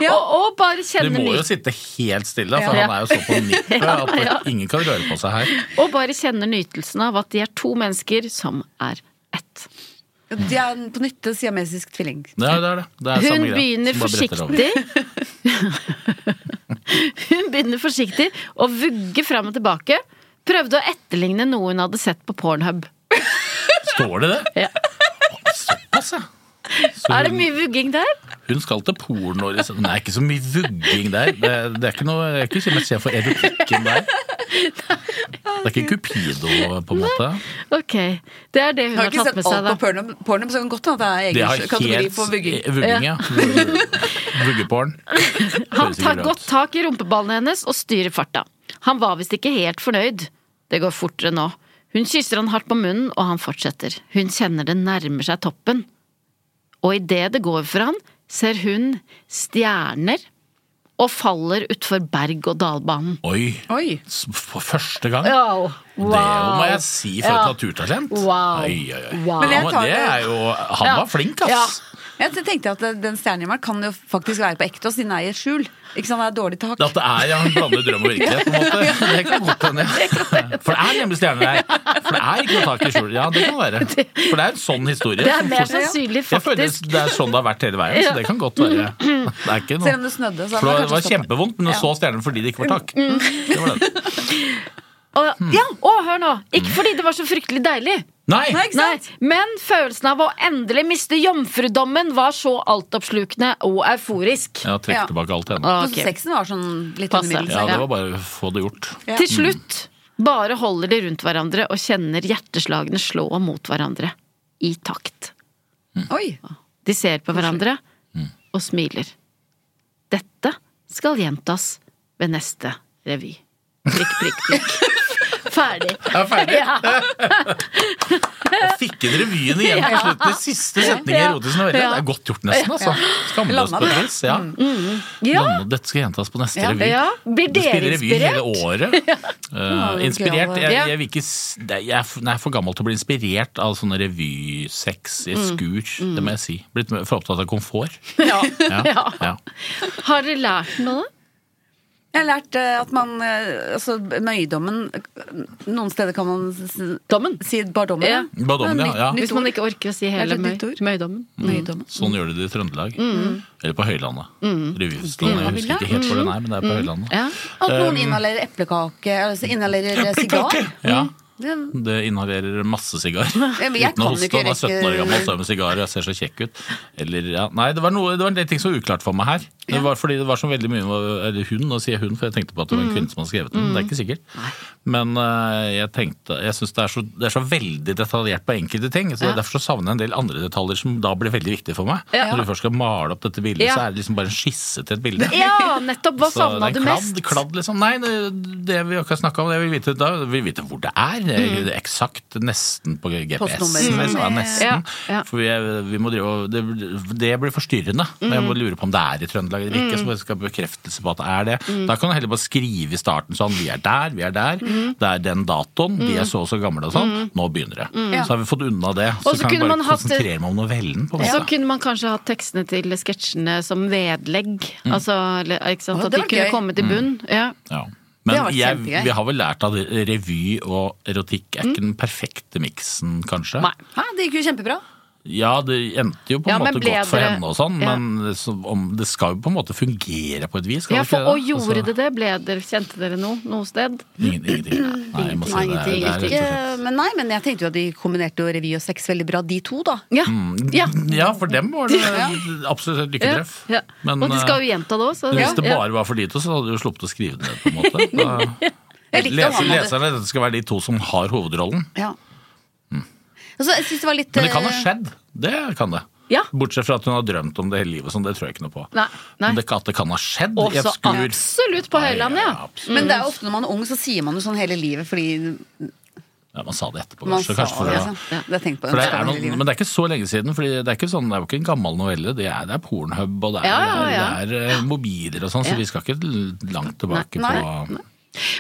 Ja.
Og, og bare
Du
kjenner
må jo
nyt-
sitte helt stille, for
Ja.
han er jo så på nippet at ingen kan røre på seg her.
og bare kjenner nytelsen av at de er to mennesker som er ett.
De er en på nytte siamesisk tvilling.
Ja, det er det. det er
Hun
samme greia,
begynner
som bare bretter over.
forsiktig Hun begynner forsiktig å vugge fram og tilbake. Prøvde å etterligne noe hun hadde sett på Pornhub.
Står det det?
Ja.
Såpass, ja. Så
Er det
hun-
mye vugging der?
Hun skal til porno. liksom. Nei, ikke så mye vugging der. Det, det er ikke noe, jeg er ikke så mye for erotikken der. Det er ikke Cupido, på en måte.
Ok, Det er det hun
Har
har,
ikke
tatt
sett
med seg,
alt
da.
på Pornhub, Pornhub, så kan godt hende at det
Det
er
har
egen kategori
helt
for vugging.
Vugging, ja. Vuggeporn.
Han
Høres ikke
tar
bra ut.
godt tak i rumpeballene hennes og styrer farta. Han var visst ikke helt fornøyd. Det går fortere nå. Hun kysser han hardt på munnen, og han fortsetter. Hun kjenner det nærmer seg toppen. Og idet det går for han, ser hun stjerner og faller utfor berg-og-dal-banen.
Oi.
Oi.
S- For første gang.
Wow.
Det må jeg si for et naturtalent.
Wow.
Oi, oi, oi.
Wow.
Men jeg
Han, var-
tar
det
det.
er jo, han
Ja.
var flink, ass.
Jeg tenkte at den stjernehimmelen kan jo faktisk være på ekte, og siden den er i et skjul. Ikke sant, det er dårlig tak.
At det er ja, en blandet drøm og virkelighet, på en måte. Det kan godt hende. ja. For det er nemlig stjerner her. For det er ikke noe tak i skjul. Ja, det kan være. For det er en sånn historie.
Det er
som
mer
fort-
sannsynlig,
Jeg føler
faktisk.
det er sånn det har vært hele veien, så det kan godt være. Det er
Selv
ikke
om
noe.
det snødde, så
For
har man
det var
kanskje stoppet.
kjempevondt, men du så stjernen fordi det ikke var tak. Det var det. Hmm.
Og, ja, og hør nå! Ikke fordi det var så fryktelig deilig,
Nei!
Nei, ikke sant?
Nei, men følelsen av å endelig miste jomfrudommen var så altoppslukende og euforisk.
Jeg har trukket
Ja.
tilbake alt ennå.
Så
Ok.
Sexen var sånn litt
Passe.
under middels.
Ja,
ikke?
det var bare å få det gjort.
Ja.
Til slutt bare holder de rundt hverandre og kjenner hjerteslagene slå mot hverandre. I takt.
Oi!
De ser på hverandre
Mm.
og smiler. Dette skal gjentas ved neste revy. Prikk, prikk, prikk. Ferdig.
Jeg er ferdig! Jeg fikk inn revyen igjen på slutten. Den siste setningen i
Ja.
Erotisk novelle. Det er godt gjort, nesten. altså. Skamløst
Landa
på et
det.
vis. Ja.
Mm. Ja.
Landa- Dette skal gjentas på neste revy.
ja. Blir
Du spiller
dere
revy hele
inspirert?
året. Eh, inspirert jeg,
Ja.
jeg, vil ikke, s- det- jeg, er f- nei, jeg er for gammel til å bli inspirert av sånne revysex
Mm.
i skurs. Det må jeg si. Blitt for opptatt av komfort. Ja,
Ja.
ja.
Har dere lært noe?
Jeg har lært eh, at man eh, Altså, nøydommen eh, Noen steder kan man s-
Dommen?
si bardommen.
Ja.
Bardommen, ja,
Nytt-
ja.
nytt
Hvis man
ord.
ikke orker å si
Er
hele
det et
møy,
nytt ord?
møydommen.
Nøydommen.
Sånn gjør de det i Trøndelag.
Mm.
Eller på Høylandet. Revyfestivalen. Jeg husker
Det har vi
ikke helt hvor den er, men det er på Høylandet.
Mm. Ja.
At noen inhalerer eplekake, altså inhalerer eh, sigar.
Um, Ja,
Det,
det inhalerer masse sigar.
men jeg
Uten
kan
å hoste.
ikke
Han er 17 år
rekke-
gammel, står med sigar og jeg ser så kjekk ut. Eller, ja. Nei, det var, noe, det var en del ting som var uklart for meg her. Det var fordi det var så veldig mye med- eller hun, nå sier jeg hun, for jeg tenkte på at det var
Mm.
en kvinne som hadde skrevet den. Det er ikke sikkert. Men eh, jeg tenkte, jeg syns det, er så- det er så veldig detaljert på enkelte ting. så Derfor så savner jeg en del andre detaljer som da blir veldig viktige for meg.
Ja.
Når du først skal male opp dette bildet,
Ja.
så er det liksom bare en skisse til et bilde.
Ja, nettopp! Hva
Så
savna
det
du
er
mest?
Kladd, kladd liksom. Nei, det, det vi akkurat snakka om, det vil vi vite, da, vi vil vite hvor det er. Det er
Mm.
Eksakt nesten på GPS-en.
Postnummer.
liksom, ja, nesten.
Ja, ja.
For vi, er- vi må drive, og- det, det blir forstyrrende. Og
Mm.
jeg må lure på om det er i Trøndelag eller ikke, så vi skal ha bekreftelse på at det er det.
Mm.
Da kan du heller bare skrive i starten sånn vi er der, vi er der,
Mm.
det er den datoen, vi er så og så gamle og sånn, nå begynner det. Så har vi fått unna det.
Mm.
Så,
Og så
kan
kunne
vi
man
bare
hatt-
konsentrere meg om novellen. på en
Så
måte.
kunne man kanskje hatt tekstene til sketsjene som vedlegg. Altså, eller, ikke sant? At
Å,
de
det var
kunne
gøy.
komme til bunn. Ja.
Mm. Ja.
Det har
Men
vært
jeg,
kjempegøy.
vi har vel lært at revy og erotikk er ikke den perfekte miksen, kanskje.
Mm. Nei.
Hæ, det gikk jo kjempebra.
Ja, det endte jo på en
Ja, men
måte
ble
godt for
dere-
henne og sånn,
Ja.
men så, om, det skal jo på en måte fungere på et vis. Skal
Ja,
det
for,
ikke
og gjorde
Altså,
det det? Ble dere, kjente dere noe noe sted?
Ingen, ingenting. Nei, jeg må si det. er- det er rett og slett.
Eh, Men nei, men jeg tenkte jo at de kombinerte jo revy og sex veldig bra, de to, da.
Ja.
Mm.
ja.
Ja, for dem var det absolutt et
ja.
lykketreff.
ja.
Men
og de skal jo gjenta det òg, så
eh,
ja.
hvis det bare var for de to, så hadde du jo sluppet å skrive det ned, på en måte. Da,
Jeg likte at
leser,
han hadde-
leserne, dette skal være de to som har hovedrollen.
Ja. Altså, jeg synes det var litt
Men det kan ha
eh,
skjedd. Det kan det.
Ja.
Bortsett fra at hun har drømt om det hele livet, sånn, det tror jeg ikke noe på.
Nei, nei.
Men det, at det kan ha skjedd i et
Også
skur.
absolutt på Høylandet,
Nei,
ja.
absolutt.
Men det er jo ofte når man er ung, så sier man jo sånn hele livet fordi
ja. Man sa det etterpå,
man
kanskje.
sa
kanskje for
det.
å-
Liksom. Det har jeg tenkt på.
for det
ønsker
er
man hele
noen,
livet.
men det er ikke så lenge siden. Fordi det er ikke sånn, det er jo ikke en gammel novelle. Det er, det er pornhub og det er,
Ja, ja, ja.
Det er, eh, mobiler og sånn, så vi skal ikke l- langt tilbake
Nei,
på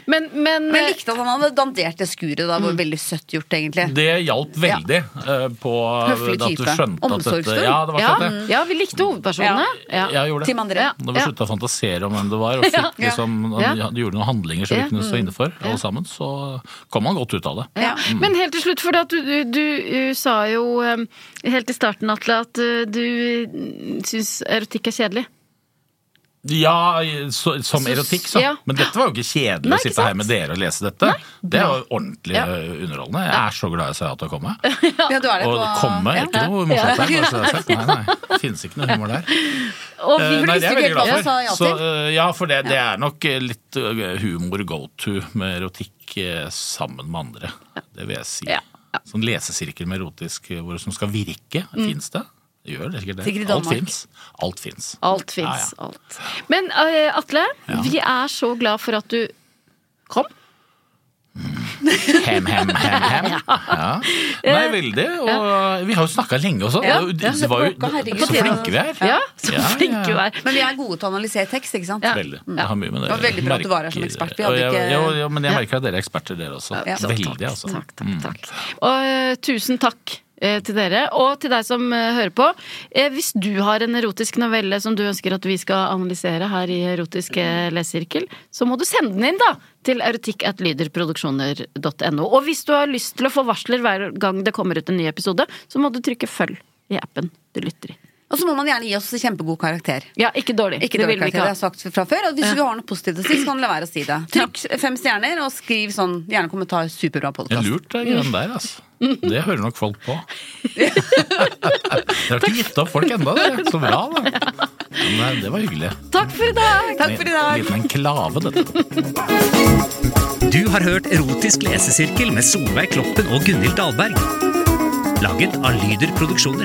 Men, men,
Men jeg likte at han hadde dandert det skuret. Da, hvor Veldig søtt gjort, egentlig.
Det hjalp veldig eh, på
Høflig
at du
type.
skjønte at dette
Omsorgsfull.
Ja, det var
ja,
akkurat det.
ja, vi likte hovedpersonene. Ja.
Jeg gjorde det.
Tim André.
Ja.
Da vi slutta å fantasere om hvem det var, og fikk
Ja.
liksom,
Ja.
ja, gjorde noen handlinger som
Ja.
vi kunne stå inne for, alle sammen, så kom man godt ut av det.
Ja. Men helt til slutt, for at du, du, du uh, sa jo um, helt i starten, Atle, at uh, du syns erotikk er kjedelig.
Eh, Ja, så, som
Så-
erotikk, så.
ja.
Men dette var jo ikke kjedelig
Nei,
å
ikke
sitte her
sant?
med dere og lese dette. det er jo ordentlig
Ja.
eh, underholdende. Jeg er så glad jeg sa ja til å komme.
Ja, du er det
Og
på
komme er
ja.
ikke noe morsomt der. bare så det er sagt. Nei, nei. Finnes ikke noe humor der.
Og vi,
Eh, Nei, det er jeg veldig glad for.
sa ja
Så,
til.
eh, ja, for det, det er nok eh, litt eh, humor go to med erotikk eh, sammen med andre. Det vil jeg si.
Ja, Mm.
Sånn lesesirkel med erotisk eh, hvor, som skal virke. Fins det? Det gjør det sikkert det.
Sikkert i
Alt
Danmark.
fins. Alt fins.
Alt fins. Alt. Men eh, Atle, vi er så glad for at du kom.
Hem, hem, hem, hem. Ja. Nei, veldig. Og eh, vi har jo snakka lenge også.
Ja.
Det, det var jo
På herregud.
så flinke vi er.
Ja, så
Ja, ja,
flink
ja.
du er.
Men vi er gode til å analysere tekst, ikke sant?
Veldig. Det har mye med det
Det var veldig bra at du var her som
Merker-
ekspert. Vi hadde
Og jeg-
ikke-
jo, jo, men jeg merker at dere er eksperter, dere også.
Ja.
Veldig, altså.
Takk, takk, takk. Og eh, tusen takk eh, til dere, og til deg som eh, hører på. Eh, hvis du har en erotisk novelle som du ønsker at vi skal analysere her i Erotisk eh, lesesirkel, så må du sende den inn, da! Til erotikk.lyderproduksjoner.no. Og hvis du har lyst til å få varsler hver gang det kommer ut en ny episode, så må du trykke følg i appen du lytter i.
Og så må man gjerne gi oss kjempegod karakter.
Ja, ikke dårlig.
Ikke
det vil
dårlig
vi ikke
karakter, det har
ha.
jeg sagt fra før. Og hvis du har noe positivt å si, så kan du la være å si det. Trykk fem stjerner, og skriv sånn gjerne kommentar 'superbra
Det er
podkast'.
lurt, det greiene der. altså. Det hører nok folk på. Dere har ikke gitt opp folk ennå, dere. Så bra, da. Men eh, det var hyggelig.
Takk for i dag!
Takk for i dag!
En liten enklave, dette.
Du har hørt Erotisk lesesirkel med Solveig Kloppen og Gunhild Dahlberg. Laget av Lyder Produksjoner.